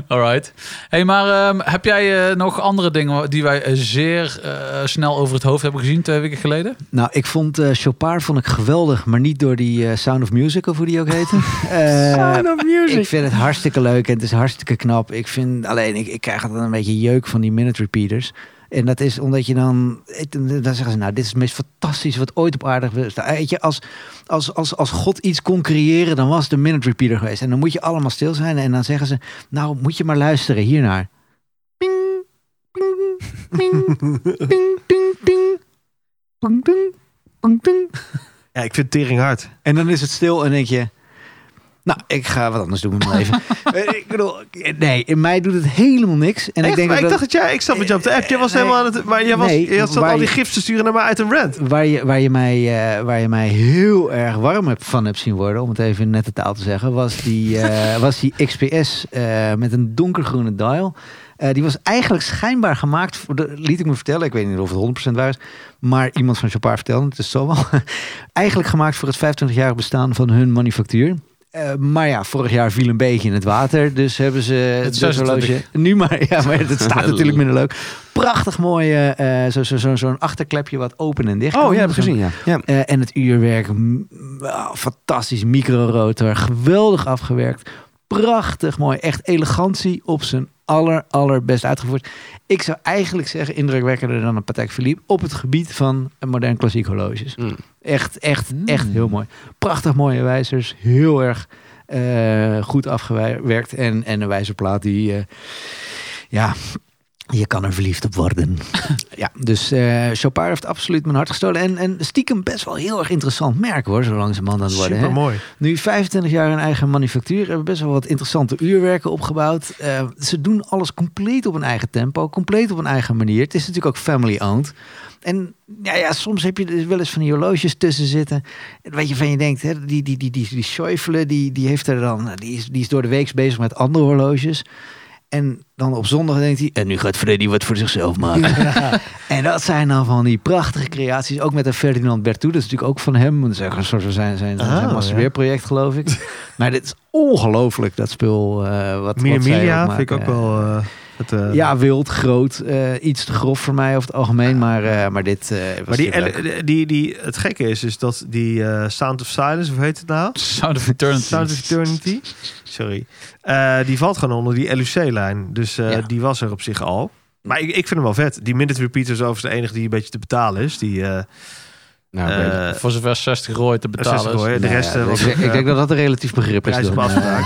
Speaker 2: Alright. Hey, maar ehm, heb jij eh, nog andere dingen die wij eh, zeer eh, snel over het hoofd hebben gezien twee weken geleden?
Speaker 1: Nou, ik vond eh Chopard vond ik geweldig, maar niet door die eh, Sound of Music of hoe die ook heette. Eh,
Speaker 3: Sound of music.
Speaker 1: Ik vind het hartstikke leuk en het is hartstikke knap. Ik vind alleen, ik, ik krijg altijd een beetje jeuk van die minute repeaters. En dat is omdat je dan, het- dan zeggen ze nou, dit is het meest fantastische wat ooit op aarde gebeurd is. Nou, Weet je, als, als, als, als God iets kon creëren, dan was het een minute repeater geweest. En dan moet je allemaal stil zijn en dan zeggen ze, nou moet je maar luisteren hiernaar. Ping, ping, ping, ping, ping, ping. Ping, ping, ping, ping.
Speaker 5: Ja, ik vind tering hard.
Speaker 1: En dan is het stil en denk je... Nou, ik ga wat anders doen met mijn leven. Eh, ik bedoel, nee, in mij doet het helemaal niks. En ik denk
Speaker 5: maar
Speaker 1: dat
Speaker 5: ik dacht dat jij, ik zat met jou op de app. Jij was
Speaker 1: Nee.
Speaker 5: helemaal aan het, maar jij was,
Speaker 1: Nee,
Speaker 5: jij zat
Speaker 1: waar
Speaker 5: al die
Speaker 1: je-
Speaker 5: gifs te sturen naar mij uit een rant.
Speaker 1: waar, je, waar, je mij, eh, waar je mij heel erg warm heb- van hebt zien worden... om het even in nette taal te zeggen... was die, eh, was die XPS eh, met een donkergroene dial... Eh, die was eigenlijk schijnbaar gemaakt, voor de- liet ik me vertellen. Ik weet niet of het 100% waar is. Maar iemand van Chopard vertelde, het is zo wel. eigenlijk gemaakt voor het 25-jarig bestaan van hun manufactuur. Eh, maar ja, vorig jaar viel een beetje in het water. Dus hebben ze
Speaker 2: Het
Speaker 1: het horloge...
Speaker 2: 26.
Speaker 1: Nu maar, ja, maar het staat natuurlijk minder leuk. Prachtig mooi, eh, eh, zo zo, zo, zo'n achterklepje wat open en dicht kan.
Speaker 3: Oh, ja, heb ik
Speaker 1: Zo'n-
Speaker 3: gezien, ja. ja.
Speaker 1: eh, en het uurwerk, m- ah, fantastisch, microrotor, geweldig afgewerkt. Prachtig mooi, echt elegantie op zijn aller, allerbest uitgevoerd. Ik zou eigenlijk zeggen, indrukwekkender dan een Patek Philippe... op het gebied van een modern klassiek horloges.
Speaker 3: Mm.
Speaker 1: Echt, echt,
Speaker 3: Hmm.
Speaker 2: Mm.
Speaker 1: echt heel mooi. Prachtig mooie wijzers, heel erg eh, goed afgewerkt. En, en een wijzerplaat die, eh, ja, je kan er verliefd op worden. ja, dus eh Chopard heeft absoluut mijn hart gestolen. En, en stiekem best wel heel erg interessant merk hoor, zo langzamerhand aan het worden. hè.
Speaker 5: Super mooi.
Speaker 1: Nu 25 jaar in eigen manufactuur, hebben we best wel wat interessante uurwerken opgebouwd. Eh, ze doen alles compleet op hun eigen tempo, compleet op hun eigen manier. Het is natuurlijk ook family-owned. En ja, ja, soms heb je dus wel eens van die horloges tussen zitten. Weet je, van je denkt, hè, die, die, die, die, die Schäufele, die, die heeft er dan, eh, die is, die is door de week bezig met andere horloges. En dan op zondag denkt hij, en nu gaat Freddy wat voor zichzelf maken. en dat zijn dan van die prachtige creaties. Ook met een Ferdinand Bertou, dat is natuurlijk ook van hem. Dat is eigenlijk een soort van zijn, zijn, zijn,
Speaker 5: Oh,
Speaker 1: zijn
Speaker 5: ja.
Speaker 1: masturbeerproject, geloof ik. maar dit is ongelooflijk, dat spul. eh wat,
Speaker 5: Mini
Speaker 1: wat zij
Speaker 5: Media
Speaker 1: maken.
Speaker 5: vind ik ook wel... eh, het, eh,
Speaker 1: Ja, wild, groot, eh, iets te grof voor mij over het algemeen. Maar, eh, maar dit eh, was
Speaker 5: Maar die,
Speaker 1: natuurlijk leuk.
Speaker 5: die, die, het gekke is, is dat die eh, Sound of Silence, hoe heet het nou?
Speaker 2: Sound of Eternity.
Speaker 5: Sound of Eternity. Sorry. Eh, die valt gewoon onder die LUC-lijn. Dus eh,
Speaker 1: Ja.
Speaker 5: die was er op zich al. Maar ik, ik vind hem wel vet. Die Minute Repeater is overigens de enige die een beetje te betalen is. Die, eh,
Speaker 3: Nou,
Speaker 5: eh,
Speaker 3: oké.
Speaker 2: Voor zover 60 rooi te betalen is.
Speaker 5: 60 hoor. De
Speaker 1: Nou
Speaker 5: rest
Speaker 1: ja,
Speaker 5: eh, was
Speaker 1: ik,
Speaker 5: ook,
Speaker 1: ik
Speaker 5: eh,
Speaker 1: denk dat dat een relatief begrip is.
Speaker 5: prijs op
Speaker 1: dan.
Speaker 5: afspraak.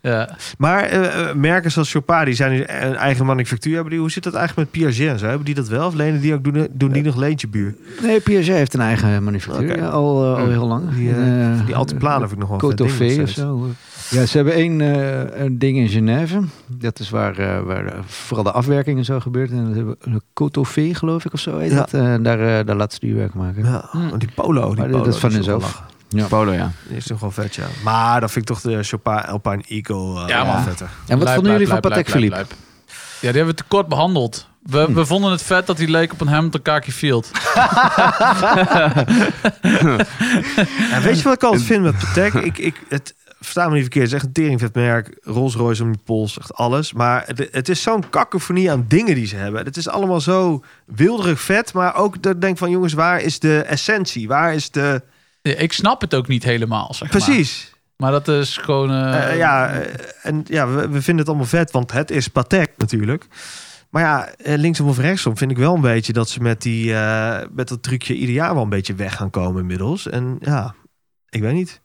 Speaker 2: Ja.
Speaker 5: Maar eh, eh, merken zoals Chopard, die zijn nu een eigen manufactuur. Hebben die, hoe zit dat eigenlijk met Piaget en zo? Hebben die dat wel? Of lenen die ook, doen, doen die nog leentje buur?
Speaker 1: Nee, Piaget heeft een eigen manufactuur
Speaker 5: Oké. Oh.
Speaker 1: ja, al, eh, al heel lang.
Speaker 5: Die,
Speaker 1: En, eh,
Speaker 5: Die Altiplano heb ik nog wel een vet
Speaker 1: Côte
Speaker 5: ding nog
Speaker 1: d'Orfee of
Speaker 5: steeds.
Speaker 1: zo. eh. Ja, ze hebben één eh, een ding in Genève. Dat is waar, eh, waar eh, vooral de afwerking en zo gebeurt. En dat hebben we- eh, Côte d'Orfee, geloof ik, of zo heet
Speaker 5: Ja.
Speaker 1: dat. Eh, daar, eh, daar laat ze die werk maken.
Speaker 5: Ja, want die polo. Die
Speaker 1: Maar
Speaker 5: polo
Speaker 1: dat is van
Speaker 5: die wel
Speaker 1: hunzelf.
Speaker 5: lachen.
Speaker 1: Ja.
Speaker 3: Polo, ja.
Speaker 5: Die is toch wel vet, ja. Maar dan vind ik toch de Chopin Alpine Eagle eh,
Speaker 2: Ja,
Speaker 5: wel
Speaker 2: man.
Speaker 5: vetter.
Speaker 1: En wat
Speaker 2: Lijp,
Speaker 1: vonden
Speaker 2: lijp,
Speaker 1: jullie van
Speaker 2: lijp,
Speaker 1: Patek
Speaker 2: lijp,
Speaker 1: Philippe? Hmm.
Speaker 2: lijp, lijp. Ja, die hebben we te kort behandeld. We, we vonden het vet dat hij leek op een Hamilton Kaki Field.
Speaker 5: Ja, weet je wat ik altijd vind met Patek? Ik, ik, het, versta me niet verkeerd, het is echt een teringvet merk. Rolls Royce om die pols, echt alles. Maar het, het is zo'n kakofonie aan dingen die ze hebben. Het is allemaal zo wilderig vet. Maar ook dat ik denk van, jongens, waar is de essentie? Waar is de...
Speaker 2: Ja, ik snap het ook niet helemaal, zeg maar.
Speaker 5: Precies.
Speaker 2: Maar dat is gewoon... eh,
Speaker 5: Eh, ja, eh, en ja, we, we vinden het allemaal vet, want het is Patek natuurlijk. Maar ja, eh, linksom of rechtsom vind ik wel een beetje dat ze met, die, eh, met dat trucje ieder jaar wel een beetje weg gaan komen inmiddels. En ja, ik weet niet.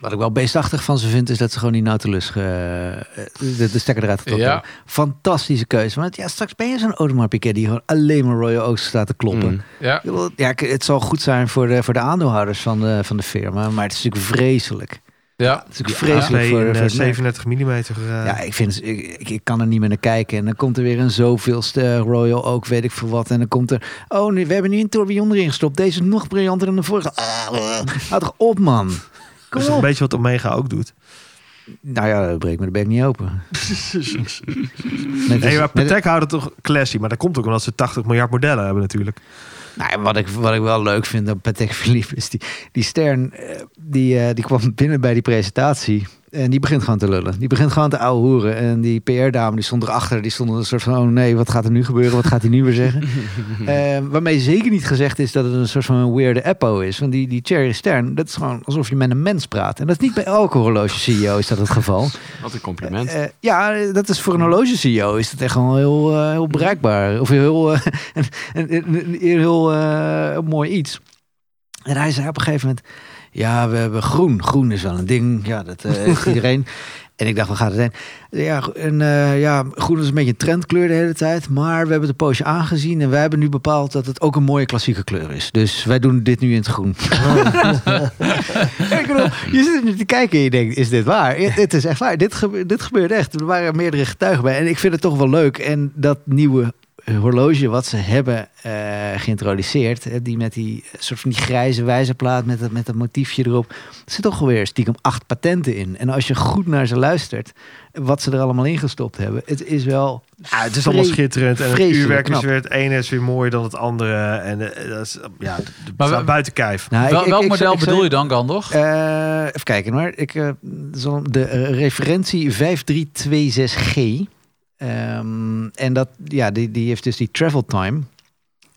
Speaker 1: Wat ik wel beestachtig van ze vind, is dat ze gewoon die Nautilus ge- eh, de, de stekker eruit getrokken
Speaker 2: Ja.
Speaker 1: hebben. Fantastische keuze. Want ja, straks ben je zo'n Audemars Piguet die gewoon alleen maar Royal Oaks staat te kloppen.
Speaker 3: Mm.
Speaker 2: ja.
Speaker 1: Ik bedoel, Ja, k- het zal goed zijn voor de, voor de aandeelhouders van de, van de firma, maar het is natuurlijk vreselijk.
Speaker 2: ja.
Speaker 1: Het is natuurlijk vreselijk
Speaker 5: Twee
Speaker 1: voor,
Speaker 5: en, eh,
Speaker 1: voor het merk.
Speaker 5: 37 mm.
Speaker 1: Ja, ik, vind, ik, ik, ik kan er niet meer naar kijken. En dan komt er weer een zoveelste Royal ook, weet ik veel wat. En dan komt er, oh, nu, we hebben nu een tourbillon erin gestopt. Deze is nog briljanter dan de vorige. Ah, eh, Houd toch op, man.
Speaker 5: dat
Speaker 1: Kom
Speaker 5: is een
Speaker 1: op.
Speaker 5: beetje wat Omega ook doet.
Speaker 1: Nou ja, dat breekt me de bek niet open. Net als-
Speaker 5: Nee, maar
Speaker 1: net-
Speaker 5: Patek houdt het toch classy. Maar dat komt ook omdat ze 80 miljard modellen hebben natuurlijk.
Speaker 1: Nou, ja, wat, ik, wat ik wel leuk vind aan Patek Philippe is die, die Stern, eh, die, eh, die kwam binnen bij die presentatie. En die begint gewoon te lullen. Die begint gewoon te ouwehoeren. En die PR-dame die stond erachter, die stond een soort van... oh nee, wat gaat er nu gebeuren? Wat gaat hij nu weer zeggen? Eh, waarmee zeker niet gezegd is dat het een soort van een weirde eppo is. Want die, die Thierry Stern, dat is gewoon alsof je met een mens praat. En dat is niet bij elke horloge-CEO is dat het geval.
Speaker 3: Wat een compliment.
Speaker 1: Eh, ja, dat is voor een horloge-CEO is dat echt gewoon heel, eh, heel bereikbaar. Of heel, eh, een, een, een- een heel eh, mooi iets. En hij zei op een gegeven moment... Ja, we hebben groen. Groen is wel een ding. Ja, dat eh, heeft iedereen. En ik dacht, wat gaat het zijn? Ja, gro- en, eh, ja, groen is een beetje een trendkleur de hele tijd. Maar we hebben de poosje aangezien. En wij hebben nu bepaald dat het ook een mooie klassieke kleur is. Dus wij doen dit nu in het groen. Ik bedoel, je zit nu te kijken en je denkt, is dit waar? Ja, Dit is echt waar. Dit, gebe- dit gebeurt echt. Er waren meerdere getuigen bij. En ik vind het toch wel leuk. En dat nieuwe horloge wat ze hebben eh, geïntroduceerd... hè, die met die eh, soort van die grijze wijzerplaat met dat, met dat motiefje erop... er zit toch weer stiekem acht patenten in. En als je goed naar ze luistert, wat ze er allemaal in gestopt hebben... het is wel...
Speaker 5: Ja, het is allemaal
Speaker 1: Vre-
Speaker 5: schitterend. En het
Speaker 1: vreselijk
Speaker 5: uurwerk is
Speaker 1: knap.
Speaker 5: weer het ene is weer mooier dan het andere. En eh, dat is, ja, het
Speaker 2: Maar
Speaker 5: staat
Speaker 2: we-
Speaker 5: buiten kijf.
Speaker 1: Nou, ik-
Speaker 2: Wel-
Speaker 1: ik-
Speaker 2: welk
Speaker 1: ik-
Speaker 2: model
Speaker 1: ik- ik-
Speaker 2: bedoel je dan, Gandor?
Speaker 1: Eh, even kijken hoor. Ik, eh, zal de eh, referentie 5326G. Ehm, en dat, ja, die, die heeft dus die travel time.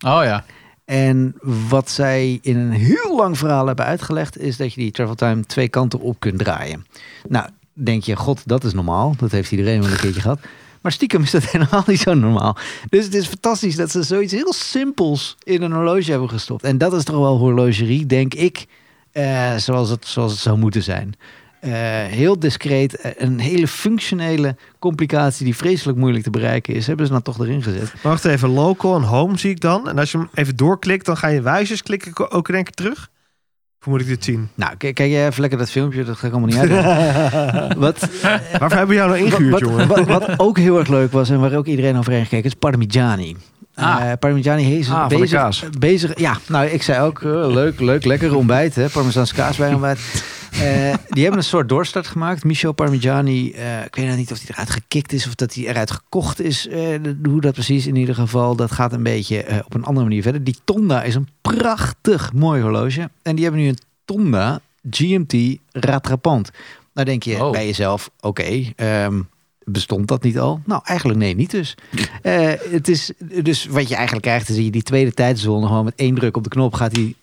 Speaker 2: Oh ja.
Speaker 1: En wat zij in een heel lang verhaal hebben uitgelegd, is dat je die travel time twee kanten op kunt draaien. Nou, denk je, god, dat is normaal. Dat heeft iedereen wel een keertje gehad. Maar stiekem is dat helemaal niet zo normaal. Dus het is fantastisch dat ze zoiets heel simpels in een horloge hebben gestopt. En dat is toch wel horlogerie, denk ik, eh, zoals, het, zoals het zou moeten zijn. Eh, heel discreet, eh, een hele functionele complicatie die vreselijk moeilijk te bereiken is, hebben ze dan toch erin gezet.
Speaker 5: Maar Wacht even, local en home zie ik dan. En als je hem even doorklikt, dan ga je wijzers klikken ko- ook in één keer terug. Hoe moet ik dit zien?
Speaker 1: Nou, k- kijk jij even lekker dat filmpje, dat ga ik allemaal niet uit. Wat,
Speaker 5: Waarvoor hebben we jou nou ingehuurd,
Speaker 1: wat,
Speaker 5: jongen?
Speaker 1: Wat, wat ook heel erg leuk was en waar ook iedereen over heen gekeken is Parmigiani.
Speaker 2: Ah.
Speaker 1: Eh, Parmigiani heeft
Speaker 3: Ah, van de
Speaker 1: bezig,
Speaker 3: kaas.
Speaker 1: bezig. Ja, nou, ik zei ook eh, leuk, leuk, lekker ontbijt, hè? Parmezaanse kaas bij ontbijt. Eh, die hebben een soort doorstart gemaakt. Michel Parmigiani, eh, ik weet nou niet of hij eruit gekikt is of dat hij eruit gekocht is. Eh, de- hoe dat precies in ieder geval, dat gaat een beetje eh, op een andere manier verder. Die Tonda is een prachtig mooi horloge. En die hebben nu een Tonda GMT Ratrapant. Nou denk je
Speaker 2: Oh.
Speaker 1: bij jezelf, oké, ehm, bestond dat niet al? Nou, eigenlijk nee, niet dus. Eh, het is, dus wat je eigenlijk krijgt, is dat je die tweede tijdzone gewoon met één druk op de knop gaat, die,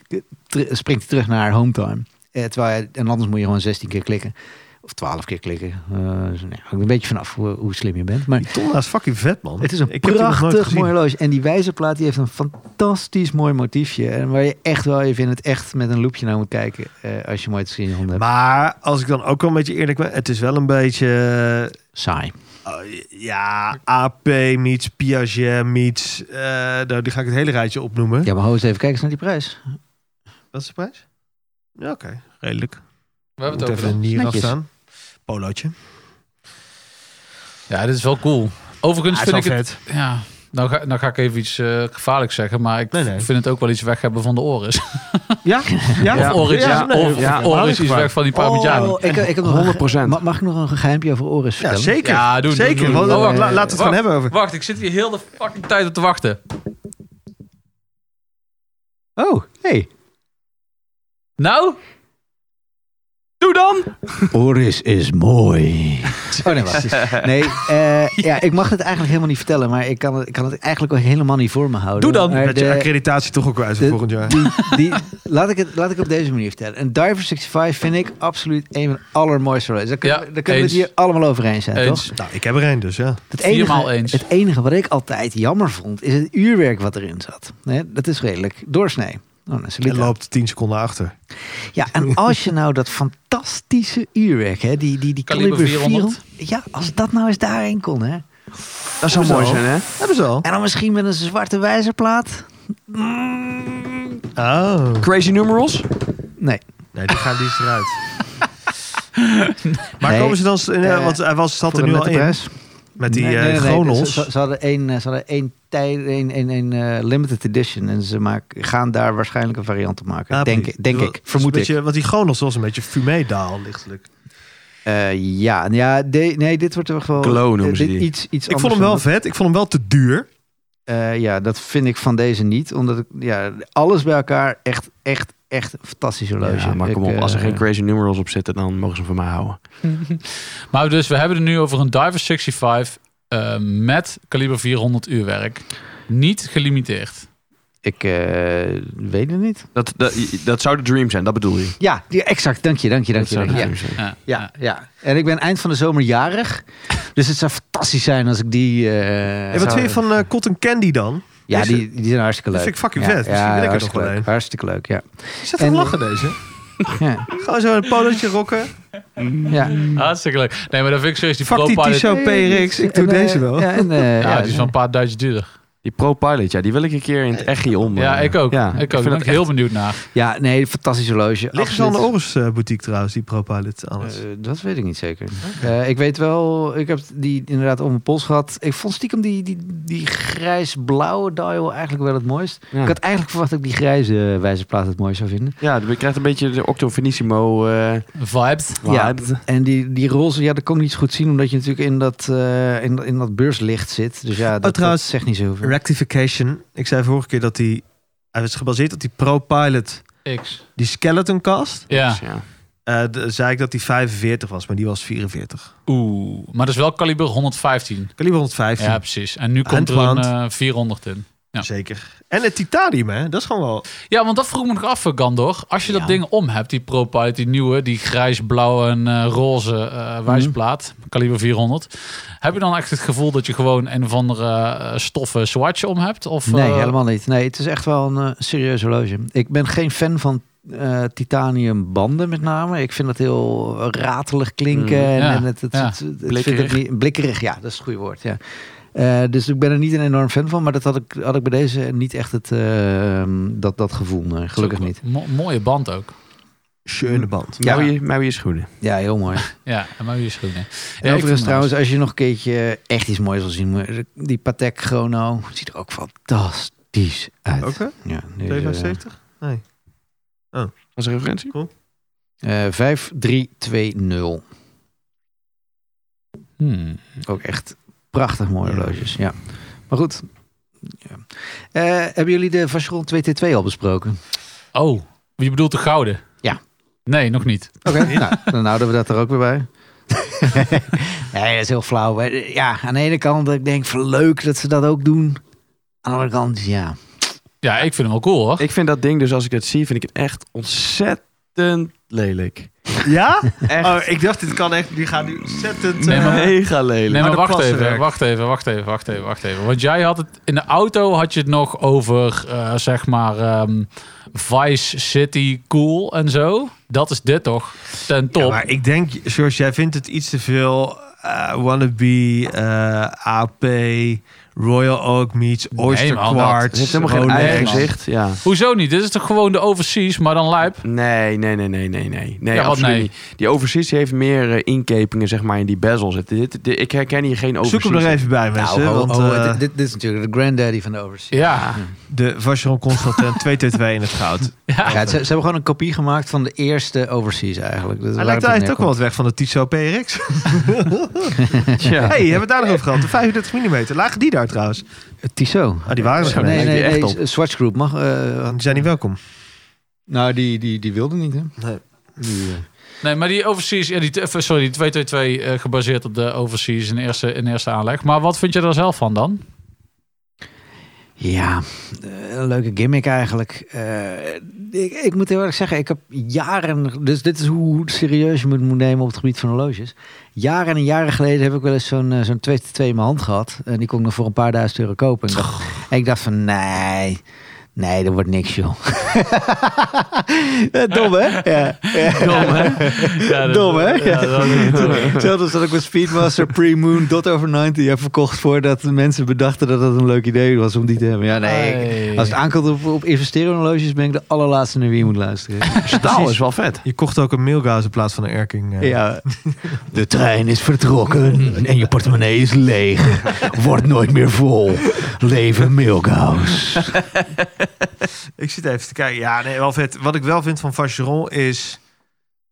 Speaker 1: ter- springt hij terug naar home time. Eh, terwijl je, en anders moet je gewoon 16 keer klikken. Of 12 keer klikken. Eh, dus, nee, hangt een beetje vanaf hoe, hoe slim je bent. Maar
Speaker 5: Die tonna is fucking vet, man.
Speaker 1: het is een
Speaker 5: Ik heb die nog nooit
Speaker 1: prachtig
Speaker 5: gezien.
Speaker 1: mooi horloge. En die wijzerplaat die heeft een fantastisch mooi motiefje. En waar je echt wel even in het echt met een loepje naar moet kijken. eh, als je mooi te zien handen hebt.
Speaker 5: Maar als ik dan ook wel een beetje eerlijk ben, het is wel een beetje...
Speaker 1: Saai.
Speaker 5: eh, oh, ja, AP meets Piaget meets... eh, nou, die ga ik het hele rijtje opnoemen.
Speaker 1: Ja, maar hou eens even kijken eens naar die prijs.
Speaker 5: Wat is de prijs? Ja, oké. Redelijk.
Speaker 2: We hebben
Speaker 5: Moet
Speaker 2: het over.
Speaker 5: even hier
Speaker 1: Netjes.
Speaker 5: afstaan. Polootje.
Speaker 2: Ja, dit is wel cool. Overigens
Speaker 5: Ah, is
Speaker 2: vind ik
Speaker 5: wel
Speaker 2: het... Ja, nou ga, nou ga ik even iets eh, gevaarlijks zeggen, maar ik
Speaker 5: Nee, nee.
Speaker 2: vind het ook wel iets weg hebben van de oren.
Speaker 5: Ja? Ja?
Speaker 2: Of oren
Speaker 5: Ja, nee,
Speaker 2: of,
Speaker 5: ja, Oh,
Speaker 2: of
Speaker 5: maar
Speaker 2: oren
Speaker 5: dat is
Speaker 2: is
Speaker 5: waar.
Speaker 2: weg van die Parmigiani.
Speaker 1: Oh, ik, ik heb nog
Speaker 3: 100%.
Speaker 1: Mag, mag ik nog een geheimpje over Oris
Speaker 5: Ja,
Speaker 1: vertellen?
Speaker 5: zeker.
Speaker 2: Ja, doe, doe,
Speaker 5: zeker.
Speaker 2: doe,
Speaker 5: want
Speaker 2: doe.
Speaker 5: la-
Speaker 2: Oh, Wacht,
Speaker 5: la- laten we het gaan
Speaker 2: wacht.
Speaker 5: hebben over.
Speaker 2: Wacht, ik zit hier heel de fucking tijd op te wachten.
Speaker 1: Oh, hey.
Speaker 2: Nou?
Speaker 3: Doe dan!
Speaker 1: Oris is mooi. Oh nee, wacht. Nee, eh, ja, ik mag het eigenlijk helemaal niet vertellen, maar ik kan het, ik kan het eigenlijk ook helemaal niet voor me houden.
Speaker 2: Doe dan.
Speaker 1: Maar
Speaker 5: Dat je
Speaker 1: de-
Speaker 5: accreditatie toch ook kwijt voor
Speaker 1: de-
Speaker 5: volgend jaar.
Speaker 1: Die, die, laat, ik het, laat ik op deze manier vertellen. Een Diver 65 vind ik absoluut een van de allermooiste races. Daar kunnen,
Speaker 2: Ja,
Speaker 1: we- daar kunnen we het
Speaker 2: eens.
Speaker 1: hier allemaal over eens zijn, toch?
Speaker 2: Eens.
Speaker 5: Nou, ik heb er één dus, ja.
Speaker 1: Het
Speaker 2: Viermaal eens.
Speaker 1: Het enige wat ik altijd jammer vond, is het uurwerk wat erin zat. Nee, dat is redelijk doorsnee. Oh, dan is het
Speaker 5: En
Speaker 1: liter.
Speaker 5: loopt 10 seconden achter.
Speaker 1: Ja, en als je nou dat fantastische uurwerk, hè, die, die, die
Speaker 2: Kaliber
Speaker 1: Kaliber
Speaker 2: 400.
Speaker 1: 400. Ja, als dat nou eens daarin kon, hè.
Speaker 3: Dat zou
Speaker 1: Hoezo?
Speaker 3: mooi zijn, hè?
Speaker 5: Hebben ze al.
Speaker 1: En dan misschien met een zwarte wijzerplaat. Mm,
Speaker 5: Oh.
Speaker 3: Crazy numerals?
Speaker 1: Nee.
Speaker 5: Nee, die gaat die is eruit. maar
Speaker 1: Nee,
Speaker 5: komen ze dan... s- in, eh,
Speaker 1: eh,
Speaker 5: want hij was, zat
Speaker 1: Voor
Speaker 5: er
Speaker 1: een
Speaker 5: nu al in.
Speaker 1: letterprijs.
Speaker 5: Met die eh
Speaker 1: Nee, nee, nee,
Speaker 5: chronos.
Speaker 1: Ze, ze- ze hadden één, eh, ze hadden één, tijd, één, één, één eh, limited edition. En ze maken, gaan daar waarschijnlijk een variant op maken.
Speaker 5: Ah,
Speaker 1: denk
Speaker 5: precies.
Speaker 1: denk
Speaker 5: Dus
Speaker 1: ik.
Speaker 5: wel-
Speaker 1: Vermoed
Speaker 5: een
Speaker 1: ik.
Speaker 5: beetje- Want die chronos was een beetje fumedaal, lichtelijk.
Speaker 1: Eh, ja, ja de- nee, dit wordt toch wel...
Speaker 3: Glow noemen
Speaker 1: eh,
Speaker 3: ze
Speaker 1: dit
Speaker 3: die.
Speaker 1: Iets, iets
Speaker 5: Ik
Speaker 1: anders
Speaker 5: vond hem
Speaker 1: dan
Speaker 5: wel
Speaker 1: dat-
Speaker 5: vet. Ik vond hem wel te duur.
Speaker 1: eh, ja, dat vind ik van deze niet. Omdat ik, ja, alles bij elkaar echt, echt, echt een fantastisch horloge.
Speaker 3: Ja, maar
Speaker 1: Ik,
Speaker 3: kom op, als er
Speaker 1: eh,
Speaker 3: geen crazy numerals op zitten, dan mogen ze hem voor mij houden.
Speaker 2: Maar dus, we hebben het nu over een Diver 65 eh, met kaliber 400 uurwerk. Niet gelimiteerd.
Speaker 1: Ik eh, weet het niet.
Speaker 3: Dat, dat, dat zou de dream zijn, dat bedoel je.
Speaker 1: Ja, die- exact. Dank je, dank je, dank
Speaker 3: Dat
Speaker 1: je.
Speaker 3: zou
Speaker 1: dank
Speaker 3: de
Speaker 1: je. Ja.
Speaker 3: dream zijn.
Speaker 1: Ja, ja. En ik ben eind van de zomer jarig. Dus het zou fantastisch zijn als ik die... eh,
Speaker 5: En wat
Speaker 1: zou-
Speaker 5: vind je van eh, Cotton Candy dan?
Speaker 1: Ja,
Speaker 5: Deze-
Speaker 1: die, die zijn hartstikke leuk.
Speaker 5: Dat vind ik fucking
Speaker 1: Ja,
Speaker 5: vet. Misschien
Speaker 1: ja,
Speaker 5: wil ik er nog
Speaker 1: hartstikke
Speaker 5: wel
Speaker 1: leuk.
Speaker 5: een.
Speaker 1: Hartstikke leuk, ja.
Speaker 5: Je zet te
Speaker 1: En-
Speaker 5: lachen deze.
Speaker 1: Ja,
Speaker 5: Gewoon zo een polootje rocken.
Speaker 1: ja.
Speaker 2: Hartstikke leuk. Nee, maar dat vind ik serieus. Die
Speaker 5: Hmm. Fuck
Speaker 2: Pro
Speaker 5: die
Speaker 2: Pilot.
Speaker 5: Tissot PRX. Ik doe
Speaker 1: En, eh,
Speaker 5: deze wel.
Speaker 1: Ja, en, eh,
Speaker 2: Ja,
Speaker 1: ja,
Speaker 2: die is wel een paar duizend duurder.
Speaker 3: Die ProPilot, ja, die wil ik een keer in het echt hier om.
Speaker 2: Ja,
Speaker 3: eh,
Speaker 2: ik ook.
Speaker 3: Ja,
Speaker 2: ik ook.
Speaker 3: vind
Speaker 2: Daar ben
Speaker 3: dat
Speaker 2: ik
Speaker 3: echt-
Speaker 2: heel benieuwd naar.
Speaker 1: ja, nee, fantastisch horloge.
Speaker 5: Liggen ze al in de
Speaker 1: absoluut.
Speaker 5: Oris eh, boutique trouwens, die ProPilot alles.
Speaker 1: Eh, dat weet ik niet zeker. Eh, ik weet wel, ik heb die inderdaad om mijn pols gehad. Ik vond stiekem die, die, die grijs-blauwe dial eigenlijk wel het mooist.
Speaker 3: Ja.
Speaker 1: Ik had eigenlijk verwacht dat ik die grijze wijzerplaat het mooi zou vinden.
Speaker 3: Ja, je krijgt een beetje de Octo Finissimo eh,
Speaker 2: Vibes.
Speaker 1: Ja,
Speaker 3: vibe.
Speaker 1: en die, die roze, ja, dat kon ik niet zo goed zien, omdat je natuurlijk in dat, eh, in, in dat beurslicht zit. Dus ja, dat,
Speaker 5: trouwens,
Speaker 1: dat zegt niet zoveel.
Speaker 5: Rectification. Ik zei vorige keer dat die... Hij was gebaseerd op die ProPilot,
Speaker 2: X.
Speaker 5: die skeleton cast.
Speaker 2: Ja.
Speaker 3: Ja.
Speaker 5: Eh, de- zei ik dat die 45 was, maar die was 44.
Speaker 2: Oeh. Maar dat is wel kaliber 115.
Speaker 5: Kaliber 115.
Speaker 2: Ja, precies. En nu komt er een
Speaker 5: Handwound.
Speaker 2: eh, 400 in. ja.
Speaker 5: Zeker. En het titanium, hè? Dat is gewoon wel...
Speaker 2: Ja, want dat vroeg me nog af, eh, Gandor. Als je
Speaker 5: Ja.
Speaker 2: dat ding om hebt, die ProPilot, die nieuwe, die grijs-blauwe en eh, roze eh wijsplaat,
Speaker 1: Mhm.
Speaker 2: kaliber 400. Heb je dan echt het gevoel dat je gewoon een of andere eh, stoffen swatch om hebt? Of,
Speaker 1: Nee,
Speaker 2: eh,
Speaker 1: helemaal niet. Nee, het is echt wel een eh, serieus horloge. Ik ben geen fan van titaniumbanden titanium banden met name. Ik vind dat heel ratelig klinken.
Speaker 3: Mm,
Speaker 1: en,
Speaker 2: ja,
Speaker 1: en het, het,
Speaker 2: ja.
Speaker 1: het- het- ik vind
Speaker 3: Blikkerig.
Speaker 1: het niet, blikkerig, ja, dat is het goede woord. Ja. Eh, dus ik ben er niet een enorm fan van, maar dat had ik, had ik bij deze niet echt het, eh, dat, dat gevoel. nee. gelukkig niet.
Speaker 2: Mo- mooie band ook.
Speaker 5: Schöne band.
Speaker 1: Ja.
Speaker 3: Mouw je- Mouw je schoenen.
Speaker 1: Ja, heel mooi.
Speaker 2: Ja, en maar wie is goed,
Speaker 1: En
Speaker 2: nee. Ja, ik vind
Speaker 1: overigens
Speaker 2: het
Speaker 1: trouwens, als je nog een keertje echt iets moois wil zien, moet je- die Patek Chrono ziet er ook fantastisch uit.
Speaker 5: Ook, hè?
Speaker 1: Ja, eh, deze,
Speaker 5: 275? Nee.
Speaker 3: Was een referentie?
Speaker 1: eh, 5320.
Speaker 2: Hmm.
Speaker 1: Ook echt prachtig mooie
Speaker 5: Ja.
Speaker 1: horloges, ja. Maar goed. Ja. Eh, hebben jullie de Vacheron 2T2 al besproken?
Speaker 2: Oh, je bedoelt de gouden?
Speaker 1: Ja.
Speaker 2: Nee, nog niet.
Speaker 1: Oké, nou, dan houden we dat er ook weer bij. nee, dat is heel flauw. Maar, eh, Ja, aan de ene kant dat ik denk van leuk dat ze dat ook doen. Aan de andere kant, ja.
Speaker 2: Ja, ik vind hem wel cool, hoor.
Speaker 3: Ik vind dat ding dus, als ik dat zie, vind ik het echt ontzettend lelijk.
Speaker 5: Ja?
Speaker 3: Echt
Speaker 5: Oh, ik dacht, dit kan echt... Die gaat nu ontzettend...
Speaker 2: Nee,
Speaker 5: eh,
Speaker 2: maar-
Speaker 3: mega lelijk.
Speaker 2: Nee, maar
Speaker 5: Maar de
Speaker 2: wacht even,
Speaker 5: klassenwerk.
Speaker 2: wacht even, wacht even, wacht even, wacht even. Want jij had het in de auto had je het nog over eh, zeg maar ehm, Vice City cool en zo. Dat is dit toch? Ten top.
Speaker 5: Ja, maar ik denk, George, jij vindt het iets te veel eh, wannabe, eh, AP, Royal Oak Meets, Oyster
Speaker 2: man,
Speaker 3: Het
Speaker 5: Quartz,
Speaker 3: heeft helemaal geen
Speaker 5: Rolex.
Speaker 3: eigen gezicht. Ja.
Speaker 2: Hoezo niet? Dit is toch gewoon de overseas, maar dan lijp.
Speaker 3: Nee, nee, nee, nee, nee, nee. Nee,
Speaker 2: Ja, wat
Speaker 3: absoluut
Speaker 2: nee?
Speaker 3: niet. Die overseas heeft meer eh, inkepingen, zeg maar, in die bezel zitten. Dit, dit- ik herken hier geen overseas.
Speaker 5: Zoek hem er even bij, mensen.
Speaker 1: Nou,
Speaker 5: want
Speaker 1: oh, oh,
Speaker 5: eh,
Speaker 1: dit- dit, dit is natuurlijk de granddaddy van de overseas.
Speaker 2: Ja.
Speaker 5: de Vacheron Constantin 222 in het goud.
Speaker 2: ja.
Speaker 1: Ja, ze, ze hebben gewoon een kopie gemaakt van de eerste overseas eigenlijk. Dat is waar
Speaker 5: Hij lijkt
Speaker 1: het op
Speaker 5: eigenlijk ook wel
Speaker 1: neerkomt.
Speaker 5: wat weg van de Tissot PRX.
Speaker 3: Ja.
Speaker 5: hey, hebben we het daar nog over gehad? De 35 mm. Lagen die daar trouwens?
Speaker 1: Tissot.
Speaker 5: Ah, die waren er
Speaker 3: Zo,
Speaker 5: gewoon.
Speaker 1: Nee,
Speaker 3: lijkt
Speaker 1: nee,
Speaker 3: die
Speaker 1: nee,
Speaker 3: echt
Speaker 1: Swatch Group mag... eh,
Speaker 5: Die zijn niet welkom.
Speaker 1: nou, die, die, die wilde niet, hè? Die, eh,
Speaker 2: Nee, maar die Overseas, ja, die, eh, sorry, die 222 eh, gebaseerd op de Overseas in eerste, in eerste aanleg. Maar wat vind je daar zelf van dan?
Speaker 1: Ja, eh, een leuke gimmick eigenlijk. Eh, ik, ik moet heel erg zeggen, ik heb jaren... Dus dit is hoe serieus je moet moet nemen op het gebied van horloges. Jaren en jaren geleden heb ik wel eens zo'n eh, zo'n 222 in mijn hand gehad. En die kon ik nog voor een paar duizend euro kopen. En ik dacht, en ik dacht van, nee... Nee, dat wordt niks, joh. Eh, Dom, hè? Ja.
Speaker 2: Dom, hè? Ja, dat-
Speaker 1: Dom, hè?
Speaker 2: Ja, dat-
Speaker 1: Hetzelfde als dat ik met Speedmaster Pre-Moon Dot Over 90 heb verkocht... voordat de mensen bedachten dat dat een leuk idee was om die te hebben. Ja, nee, ik-
Speaker 2: Hey.
Speaker 1: als het aankomt op, op investeren in horloges, ben ik de allerlaatste naar wie je moet luisteren.
Speaker 3: Staal is wel vet.
Speaker 5: Je kocht ook een Milgaus in plaats van een Erking. eh.
Speaker 1: ja. De trein is vertrokken en je portemonnee is leeg. Wordt nooit meer vol. Leven Milgaus.
Speaker 5: Ik zit even te kijken. Ja, nee, wel vet. Wat ik wel vind van Vacheron is...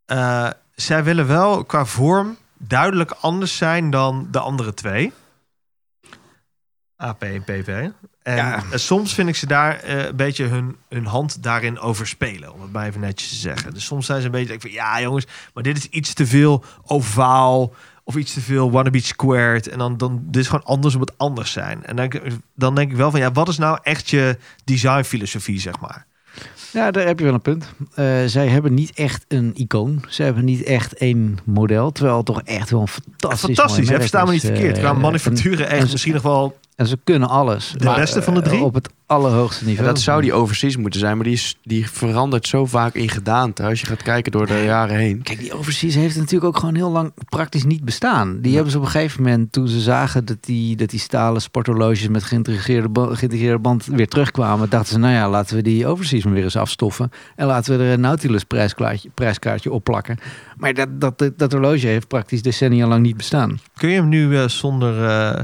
Speaker 5: eh, zij willen wel qua vorm duidelijk anders zijn dan de andere twee. AP en PP. En
Speaker 1: Ja.
Speaker 5: eh, soms vind ik ze daar eh, een beetje hun, hun hand daarin overspelen. Om het maar even netjes te zeggen. Dus soms zijn ze een beetje... Ik van, ja jongens, maar dit is iets te veel ovaal. Of iets te veel wannabe squared. En dan, dan dit is gewoon anders om het anders zijn. En dan, dan denk ik wel van... Ja, wat is nou echt je designfilosofie, zeg maar?
Speaker 1: Ja, daar heb je wel een punt. Eh, zij hebben niet echt een icoon. Zij hebben niet echt één model. Terwijl het toch echt wel een fantastisch
Speaker 5: Fantastisch, hè? Verstaan we niet
Speaker 1: eh,
Speaker 5: verkeerd. Qua manufacturen
Speaker 1: en
Speaker 5: echt
Speaker 1: ze-
Speaker 5: misschien nog wel...
Speaker 1: En ze kunnen alles.
Speaker 5: De beste van de
Speaker 1: eh,
Speaker 5: drie?
Speaker 1: Op het allerhoogste niveau.
Speaker 3: dat zou die overseas moeten zijn, maar die, is, die verandert zo vaak in gedaante. Als je gaat kijken door de jaren heen.
Speaker 1: Kijk, die Overseas heeft natuurlijk ook gewoon heel lang praktisch niet bestaan. Die hebben ze op een gegeven moment, toen ze zagen dat die, dat die stalen sporthorloges met geïntegreerde, ba- geïntegreerde band weer terugkwamen, dachten ze, nou ja, laten we die Overseas maar weer eens afstoffen. En laten we er een Nautilus prijskaartje, prijskaartje opplakken. Maar dat, dat, dat, dat horloge heeft praktisch decennia lang niet bestaan.
Speaker 5: Kun je hem nu eh, zonder eh,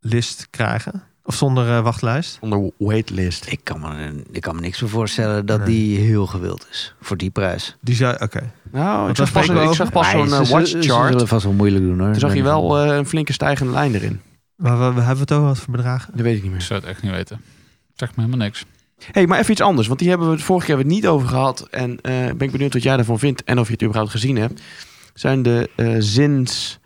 Speaker 5: list krijgen? Of zonder eh, wachtlijst?
Speaker 3: Onder waitlist.
Speaker 1: Ik kan me, ik kan me niks meer voorstellen dat
Speaker 5: Nee.
Speaker 1: die heel gewild is voor die prijs.
Speaker 5: Die zou... Oké.
Speaker 3: Nou, ik
Speaker 5: Wat
Speaker 3: zag,
Speaker 5: was
Speaker 3: pas,
Speaker 5: er ook?
Speaker 3: ik zag pas zo'n
Speaker 1: Maar
Speaker 3: eh,
Speaker 1: ze- ze- Ze
Speaker 3: watchchart.
Speaker 1: zullen vast wel moeilijk doen hoor.
Speaker 3: Toen zag je
Speaker 1: Ben-
Speaker 3: wel eh, een flinke stijgende lijn erin.
Speaker 5: Maar we, we hebben het over wat voor bedragen?
Speaker 3: Dat weet ik niet
Speaker 2: Ik
Speaker 3: meer.
Speaker 2: zou het echt niet weten. Zegt me helemaal niks.
Speaker 3: hey, maar even iets anders. Want die hebben we het vorige keer hebben we het niet over gehad. En eh, ben ik benieuwd wat jij daarvan vindt. En of je het überhaupt gezien hebt. Zijn de eh, zins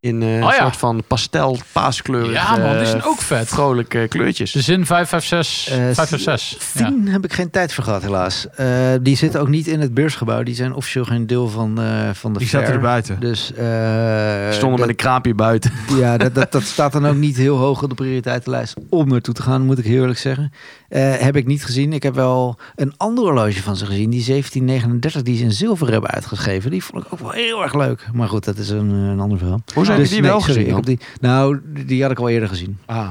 Speaker 3: in eh,
Speaker 2: Oh ja.
Speaker 3: een soort van pastel paaskleur. eh,
Speaker 2: Ja, man, die zijn ook vet. Dus,
Speaker 3: Vrolijke kleurtjes.
Speaker 2: De zin 556.
Speaker 1: Eh,
Speaker 2: 556. Ja.
Speaker 1: Tien heb ik geen tijd voor gehad, helaas. Eh, die zitten ook niet in het beursgebouw. Die zijn officieel geen deel van, eh, van de
Speaker 5: Die zaten
Speaker 1: fair.
Speaker 5: er buiten.
Speaker 1: Dus eh,
Speaker 3: Die stonden met
Speaker 1: dat-
Speaker 3: een kraampje buiten.
Speaker 1: ja, dat, dat, dat staat dan ook niet heel hoog op de prioriteitenlijst om naartoe te gaan, moet ik heel eerlijk zeggen. Eh, heb ik niet gezien. Ik heb wel een ander horloge van ze gezien, die 1739, die ze in zilver hebben uitgegeven. Die vond ik ook wel heel erg leuk. Maar goed, dat is een, een ander verhaal.
Speaker 3: Hoe zijn
Speaker 1: Dus
Speaker 3: die
Speaker 1: nee,
Speaker 3: wel
Speaker 1: sorry,
Speaker 3: gezien?
Speaker 1: ik heb die, nou, die had ik al eerder gezien.
Speaker 3: dan? Ah.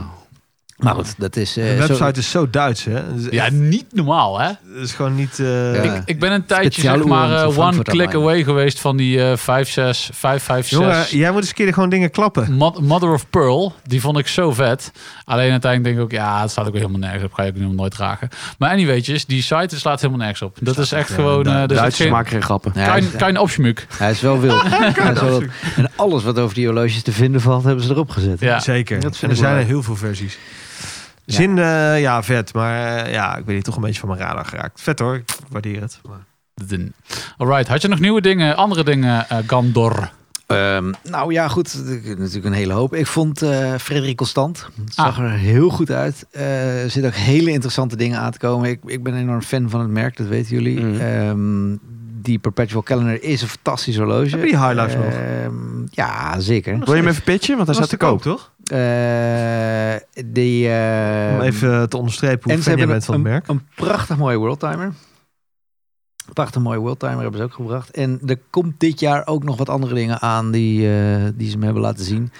Speaker 1: Maar goed, dat is... eh,
Speaker 5: de
Speaker 1: zo-
Speaker 5: website is zo Duits, hè? Het is,
Speaker 2: Ja, niet normaal, hè?
Speaker 5: het is gewoon niet... eh,
Speaker 1: Ja.
Speaker 5: ik-
Speaker 2: Ik ben een tijdje,
Speaker 1: Speciale
Speaker 2: zeg maar,
Speaker 1: oerend
Speaker 2: eh,
Speaker 1: van
Speaker 2: one
Speaker 1: Frankfurt
Speaker 2: click
Speaker 1: aan
Speaker 2: away geweest van die eh 56, 556.
Speaker 5: Jongen, jij moet eens een keer gewoon dingen klappen.
Speaker 2: Mo- Mother of Pearl, die vond ik zo vet. Alleen uiteindelijk denk ik ook, ja, het staat ook helemaal nergens op. Ga je ook helemaal nooit dragen. Maar anyways, die site slaat helemaal nergens op. Dat is echt gewoon... eh er
Speaker 5: Du-
Speaker 2: zit
Speaker 3: Duitsers
Speaker 2: geen-
Speaker 3: maken geen grappen.
Speaker 1: Ja,
Speaker 2: Kein,
Speaker 1: dus-
Speaker 2: kein opschmuk.
Speaker 1: Hij is wel wild. Hij is wel wild. En alles wat over die horloges te vinden valt, hebben ze erop gezet.
Speaker 2: Ja.
Speaker 5: Zeker.
Speaker 1: Dat vind
Speaker 5: en er
Speaker 1: ik wel
Speaker 5: zijn er
Speaker 1: leuk.
Speaker 5: heel veel versies. Zin, eh, ja, vet. Maar eh, ja, ik weet niet, toch een beetje van mijn radar geraakt. Vet hoor, ik waardeer het. Maar-
Speaker 2: Dun. Alright, had je nog nieuwe dingen, andere dingen, eh, Gandor?
Speaker 1: Ehm, nou ja, goed. ik- Natuurlijk een hele hoop. Ik vond eh Frederik Constant. Het zag er heel goed uit. Eh, er zitten ook hele interessante dingen aan te komen. Ik, ik ben een enorm fan van het merk, dat weten jullie.
Speaker 3: Mm.
Speaker 1: Ehm, die Perpetual Calendar is een fantastisch horloge.
Speaker 5: Hebben die high life nog?
Speaker 1: Ehm, Ja, zeker.
Speaker 3: Wil je hem even pitchen? Want hij
Speaker 5: Dat
Speaker 3: staat
Speaker 5: was
Speaker 3: te koop.
Speaker 5: toch?
Speaker 1: Eh, die, eh,
Speaker 5: Om even te onderstrepen hoe
Speaker 1: en ze
Speaker 5: fan jij
Speaker 1: hebben een,
Speaker 5: bent van het merk.
Speaker 1: een prachtig mooie worldtimer. Prachtig mooie worldtimer hebben ze ook gebracht. En er komt dit jaar ook nog wat andere dingen aan die, eh, die ze hem hebben laten zien.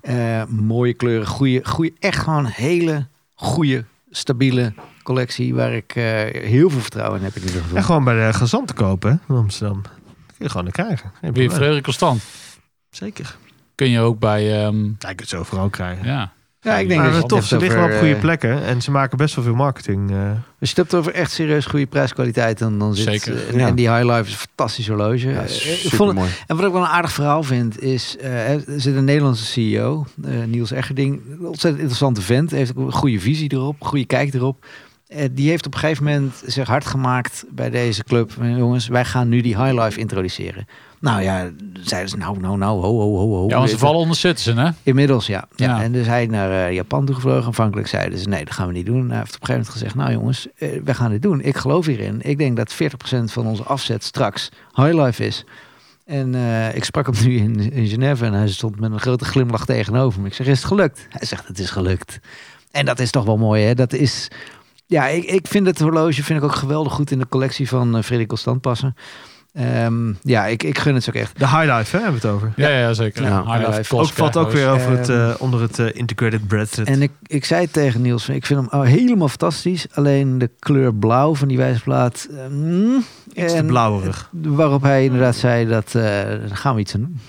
Speaker 1: Eh, mooie kleuren, goede, goede, echt gewoon een hele goede, stabiele collectie waar ik eh, heel veel vertrouwen in heb in ieder geval.
Speaker 5: En gewoon bij de gazant te kopen hè, in Amsterdam. Kun je gewoon naar krijgen.
Speaker 2: Wie
Speaker 5: Geen probleem.
Speaker 2: Frederik Constant?
Speaker 5: Zeker.
Speaker 2: Kun je ook bij... ehm,
Speaker 5: Ja, je kunt ze overal krijgen.
Speaker 2: ja.
Speaker 1: ja, ik denk
Speaker 5: maar
Speaker 1: dat je
Speaker 5: toch,
Speaker 1: het
Speaker 5: ze
Speaker 1: hebt
Speaker 5: liggen wel op
Speaker 1: over,
Speaker 5: goede
Speaker 1: eh,
Speaker 5: plekken. En ze maken best wel veel marketing. eh.
Speaker 1: Als je het hebt over echt serieus goede prijskwaliteit, dan, dan zit
Speaker 2: Zeker.
Speaker 1: eh, en,
Speaker 3: Ja.
Speaker 1: en die High Life is een fantastisch horloge.
Speaker 3: Ja,
Speaker 1: Eh, ik vond het
Speaker 3: supermooi.
Speaker 1: En wat ik wel een aardig verhaal vind, is... eh, er zit een Nederlandse E CEO, eh, Niels Eggerding. Een ontzettend interessante vent. Heeft ook een goede visie erop, goede kijk erop. eh, die heeft op een gegeven moment zich hard gemaakt bij deze club. Eh, Jongens, wij gaan nu die highlife introduceren. Nou ja, zeiden ze nou, nou, nou, ho, ho, ho, ho.
Speaker 2: Ja, want ze vallen onder Citizen, hè?
Speaker 1: Inmiddels, ja. ja.
Speaker 2: Ja.
Speaker 1: En dus hij naar eh, Japan toe gevlogen. Aanvankelijk zeiden ze, nee, dat gaan we niet doen. Hij heeft op een gegeven moment gezegd, nou jongens, eh, we gaan dit doen. Ik geloof hierin. Ik denk dat 40% van onze afzet straks highlife is. En eh, ik sprak hem nu in, in Genève en hij stond met een grote glimlach tegenover me. Ik zeg, is het gelukt? Hij zegt, het is gelukt. En dat is toch wel mooi, hè? Dat is... Ja, ik, ik vind het horloge vind ik ook geweldig goed in de collectie van eh Freddy Constant passen. Ehm, ja, ik, ik gun het ze ook echt.
Speaker 5: De highlife, hè, hebben we het over.
Speaker 2: Ja, ja zeker.
Speaker 3: Ja.
Speaker 2: High Life
Speaker 1: Highlife.
Speaker 5: Ook
Speaker 2: Costco.
Speaker 5: valt ook weer over het,
Speaker 1: Ehm,
Speaker 5: eh, onder het eh, integrated bracelet.
Speaker 1: En ik, ik zei tegen Niels, van, ik vind hem al helemaal fantastisch. Alleen de kleur blauw van die wijzerplaat. eh, mm,
Speaker 5: Iets te
Speaker 1: en
Speaker 5: blauwerig.
Speaker 1: Waarop hij inderdaad zei, dat eh, daar gaan we iets aan doen.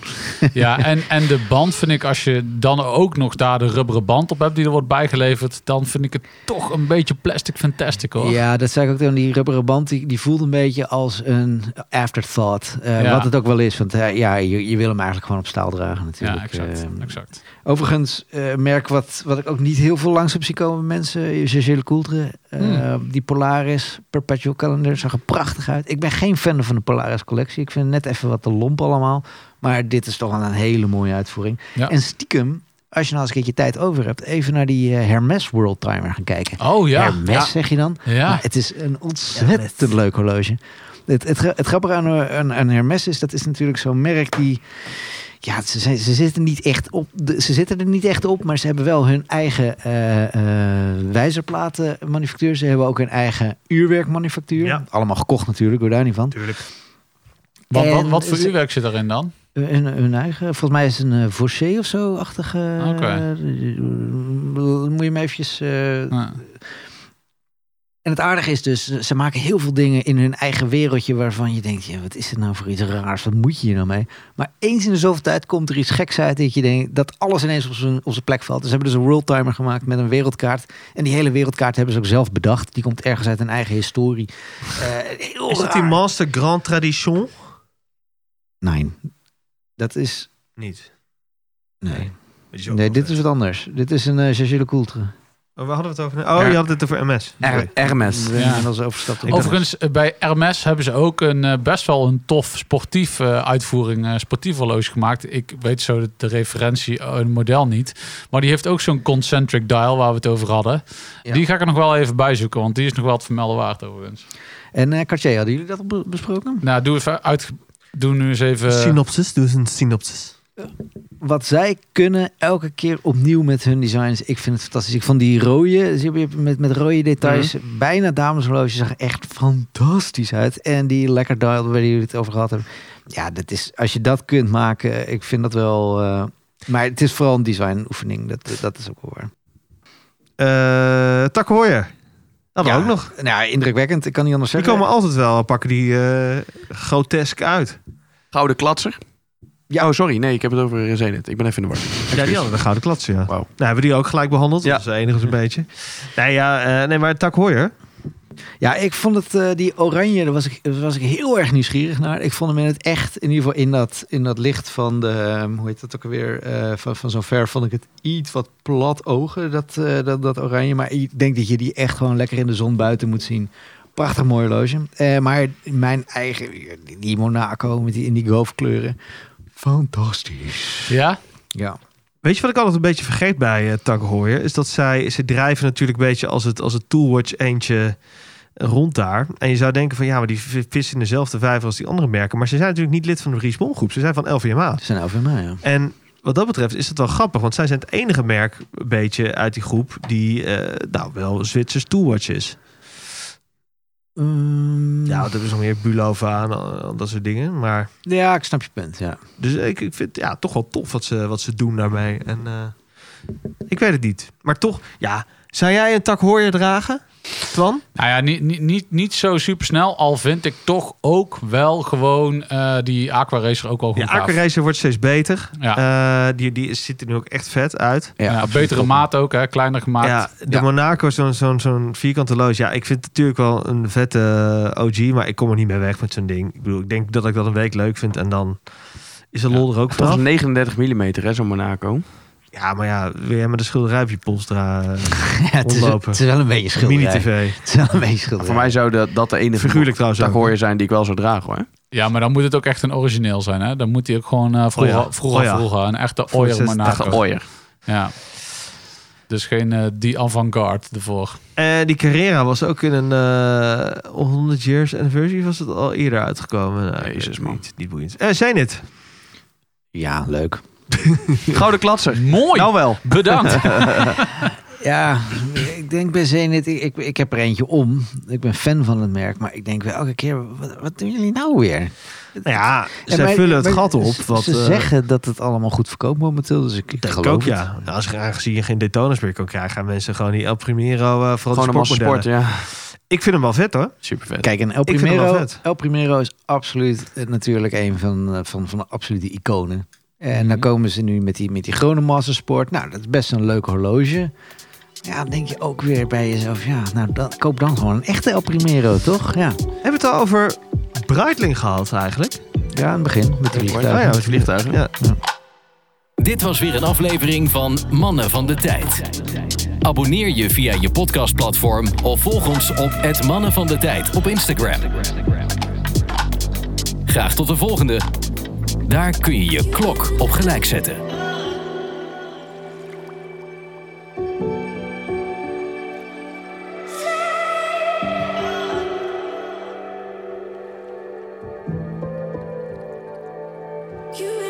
Speaker 2: Ja, en, en de band vind ik, als je dan ook nog daar de rubberen band op hebt die er wordt bijgeleverd, dan vind ik het toch een beetje plastic fantastic hoor.
Speaker 1: Ja, dat zei ik ook tegen die rubberen band. Die, die voelt een beetje als een afterthought. eh,
Speaker 2: Ja.
Speaker 1: Wat het ook wel is. Want eh, ja, je, je wil hem eigenlijk gewoon op staal dragen natuurlijk.
Speaker 2: Ja, exact.
Speaker 1: Eh,
Speaker 2: exact.
Speaker 1: Overigens, eh, merk wat, wat ik ook niet heel veel langs heb zien komen bij mensen. is Gégé Le Coultre, eh,
Speaker 2: Hmm.
Speaker 1: die Polaris Perpetual Calendar zag er prachtig uit. Ik ben geen fan van de Polaris collectie. Ik vind het net even wat te lomp allemaal. Maar dit is toch wel een hele mooie uitvoering.
Speaker 2: Ja.
Speaker 1: En stiekem, als je nou eens een keertje tijd over hebt, even naar die eh, Hermes World Timer gaan kijken.
Speaker 2: Oh ja.
Speaker 1: Hermes zeg je dan?
Speaker 2: Ja. ja.
Speaker 1: Maar het is een ontzettend leuk horloge. Het, het, gra- het grappige aan een, aan- aan Hermes is, dat is natuurlijk zo'n merk die... Ja, ze, zijn- ze, zitten niet echt op, de- ze zitten er niet echt op, maar ze hebben wel hun eigen eh, eh, wijzerplatenmanufactuur. Ze hebben ook hun eigen uurwerkmanufactuur.
Speaker 5: Ja.
Speaker 1: Allemaal gekocht natuurlijk, hoor daar niet van.
Speaker 5: Natuurlijk.
Speaker 2: Wat, wat,
Speaker 1: En
Speaker 2: wat voor
Speaker 1: ze-
Speaker 2: uurwerk zit erin dan?
Speaker 1: Eh, Hun, hun eigen, volgens mij is het een eh, Vosché of zo-achtige... eh,
Speaker 2: Oké.
Speaker 1: moet je me eventjes... eh,
Speaker 2: Ja.
Speaker 1: En het aardige is dus, ze maken heel veel dingen in hun eigen wereldje waarvan je denkt, ja, wat is het nou voor iets raars, wat moet je hier nou mee? Maar eens in de zoveel tijd komt er iets geks uit dat je denkt dat alles ineens op zijn, op zijn plek valt. Dus ze hebben dus een worldtimer gemaakt met een wereldkaart. En die hele wereldkaart hebben ze ook zelf bedacht. Die komt ergens uit hun eigen historie. Eh, heel
Speaker 5: Is dat die
Speaker 1: raar.
Speaker 5: Master Grand Tradition?
Speaker 1: Nee, dat is...
Speaker 5: Niet.
Speaker 1: Nee,
Speaker 5: Die is ook
Speaker 1: nee
Speaker 5: wel
Speaker 1: dit
Speaker 5: vet.
Speaker 1: is wat anders. Dit is een uh, Gégé Le Coultre.
Speaker 5: Oh, waar hadden we het over? Oh,
Speaker 3: Ja.
Speaker 5: je had het over MS.
Speaker 3: Er-
Speaker 5: Oké.
Speaker 1: We
Speaker 3: Hermes.
Speaker 1: zijn
Speaker 2: Ja.
Speaker 1: inmiddels overgestapt op-
Speaker 2: Overigens, eh, bij Hermes hebben ze ook een, eh, best wel een tof sportief eh, uitvoering, eh, sportief horloge gemaakt. Ik weet zo de, de referentie, eh, een model niet. Maar die heeft ook zo'n concentric dial waar we het over hadden.
Speaker 1: Ja.
Speaker 2: Die ga ik er nog wel even bij zoeken, want die is nog wel het vermelden waard overigens.
Speaker 1: En eh Cartier, hadden jullie dat al be- besproken?
Speaker 2: Nou, doe, even uit, doe nu eens even...
Speaker 5: synopsis, dus een synopsis.
Speaker 1: wat zij kunnen elke keer opnieuw met hun designs. Ik vind het fantastisch. Ik vond die rode, zie je, met, met rode details,
Speaker 5: Mhm.
Speaker 1: bijna dameshorloge, zag er echt fantastisch uit. En die lekker dial waar jullie het over gehad hebben. Ja, dat is, als je dat kunt maken, ik vind dat wel... eh, maar het is vooral een design oefening, dat, dat is ook wel waar.
Speaker 5: Eh Takken Hoyer. Hadden we ook nog.
Speaker 1: Nou, ja, indrukwekkend. Ik kan niet anders
Speaker 5: Die
Speaker 1: zeggen.
Speaker 5: komen altijd wel, pakken die eh, grotesk uit.
Speaker 3: Gouden klatser. Ja, oh, sorry. Nee, ik heb het over eh, Zenit. Ik ben even in de war.
Speaker 5: Ja, die hadden de gouden klatsen, ja.
Speaker 3: Wauw.
Speaker 5: Nou, hebben we die ook gelijk behandeld?
Speaker 3: Ja.
Speaker 5: Dat is de enige een beetje. Nee, ja, eh, nee maar Tak Hoyer.
Speaker 1: Ja, ik vond het, eh, die oranje, daar was ik, daar was ik heel erg nieuwsgierig naar. Ik vond hem in het echt, in ieder geval in dat, in dat licht van de, ehm, hoe heet dat ook alweer, eh, van, van zo'n ver vond ik het iets wat plat ogen, dat, eh, dat, dat oranje. Maar ik denk dat je die echt gewoon lekker in de zon buiten moet zien. Prachtig mooi horloge. Eh, maar mijn eigen, die Monaco met die indigo kleuren, fantastisch.
Speaker 2: Ja?
Speaker 1: Ja.
Speaker 5: Weet je wat ik altijd een beetje vergeet bij eh Tak Hoyer? Is dat zij, ze drijven natuurlijk een beetje als het, als het Toolwatch eentje rond daar. En je zou denken van ja, maar die v- vissen in dezelfde vijver als die andere merken. Maar ze zijn natuurlijk niet lid van de Richemont groep. Ze zijn van LVMH.
Speaker 1: Dat zijn nou van mij, ja.
Speaker 5: En wat dat betreft is het wel grappig, want zij zijn het enige merk een beetje uit die groep die eh, nou wel Zwitsers Toolwatch is.
Speaker 1: Mm,
Speaker 3: Hmm.
Speaker 5: Ja,
Speaker 1: ja,
Speaker 5: dat is nog meer Bulova en al- al dat soort dingen. Maar
Speaker 1: ik snap je punt, ja.
Speaker 5: dus ik, ik vind ja toch wel tof wat ze, wat ze doen daarmee. En eh, ik weet het niet, maar toch ja. Zou jij een tak hoorje dragen, Twan?
Speaker 2: Nou ja, niet, niet, niet, niet zo supersnel. Al vind ik toch ook wel gewoon eh, die Aqua Racer ook wel goed
Speaker 5: Ja,
Speaker 2: gaaf.
Speaker 5: Aquaracer wordt steeds beter.
Speaker 2: Ja.
Speaker 5: Eh, die, die ziet er nu ook echt vet uit.
Speaker 2: Ja,
Speaker 1: absoluut.
Speaker 2: betere maat ook, hè? kleiner gemaakt.
Speaker 5: Ja, de
Speaker 1: Ja.
Speaker 5: Monaco, zo'n zo'n zo'n vierkante loos. Ja, ik vind het natuurlijk wel een vette OG, maar ik kom er niet mee weg met zo'n ding. Ik bedoel, ik denk dat ik dat een week leuk vind en dan is de lol er ook
Speaker 3: Dat
Speaker 5: vanaf.
Speaker 3: is 39 mm, hè, zo'n Monaco.
Speaker 5: Ja, maar ja, wil jij met een schilderij op je polstra eh,
Speaker 1: Ja, het, is,
Speaker 5: rondlopen?
Speaker 1: het is wel een beetje schilderij.
Speaker 5: Mini-tv.
Speaker 1: Het is wel een beetje schilderij.
Speaker 3: Voor mij zou dat, dat de enige
Speaker 5: Figuurlijk trouwens ook, Ah,
Speaker 3: je zijn die ik wel zou dragen hoor.
Speaker 2: Ja, maar dan moet het ook echt een origineel zijn. Hè? Dan moet hij ook gewoon eh vroeger,
Speaker 5: Oh ja.
Speaker 2: vroeger,
Speaker 5: Oh ja.
Speaker 2: vroeger. Een echte
Speaker 5: Voor
Speaker 2: oier
Speaker 5: 86
Speaker 2: Monaco.
Speaker 3: Echte ooier.
Speaker 2: Ja. Dus geen eh, die avant-garde ervoor.
Speaker 5: Eh, die Carrera was ook in een eh 100 years anniversary was het al eerder uitgekomen. Nou, ik weet
Speaker 3: Jezus,
Speaker 5: het
Speaker 3: man.
Speaker 5: Niet, niet boeiend. Eh, zijn het?
Speaker 1: Ja, leuk.
Speaker 3: Gouden klatser.
Speaker 2: Mooi!
Speaker 3: Nou wel.
Speaker 2: Bedankt!
Speaker 1: Ja, ik denk bij Zenit, ik, ik, ik heb er eentje om. Ik ben fan van het merk, maar ik denk wel elke keer, wat, wat doen jullie nou weer?
Speaker 5: Nou ja,
Speaker 1: Ja,
Speaker 5: zij
Speaker 1: maar-
Speaker 5: vullen het
Speaker 1: maar
Speaker 5: gat op.
Speaker 1: ze-
Speaker 5: Wat,
Speaker 1: ze
Speaker 5: eh,
Speaker 1: zeggen dat het allemaal goed verkoopt momenteel, dus ik, ik
Speaker 5: denk ik
Speaker 1: geloof
Speaker 5: ook,
Speaker 1: het.
Speaker 5: ja. Nou, als je, aangezien je geen Daytona's meer kan krijgen, gaan mensen gewoon die El Primero eh vooral
Speaker 3: Gewoon een
Speaker 5: de
Speaker 3: massa sport,
Speaker 5: sportmodellen.
Speaker 3: ja.
Speaker 5: Ik vind hem wel vet hoor.
Speaker 3: Super vet.
Speaker 1: Kijk, en El
Speaker 5: vind hem wel
Speaker 1: Primero,
Speaker 5: vet.
Speaker 1: El Primero is absoluut eh, natuurlijk een van, eh, van, van de absolute iconen. En
Speaker 5: Mhm.
Speaker 1: dan komen ze nu met die, met die Gronemassa Sport. Nou, dat is best een leuk horloge. Ja, dan denk je ook weer bij jezelf, ja, nou, dan, koop dan gewoon een echte El Primero, toch? Ja,
Speaker 5: Hebben we het al over Breitling gehad eigenlijk?
Speaker 1: ja aan het begin, met de
Speaker 5: Oh ja,
Speaker 1: vliegtuigen.
Speaker 5: het vliegtuigen. Ja.
Speaker 4: Dit was weer een aflevering van Mannen van de Tijd. Abonneer je via je podcastplatform of volg ons op het Mannen van de Tijd op Instagram. Graag tot de volgende. Daar kun je je klok op gelijk zetten.
Speaker 6: You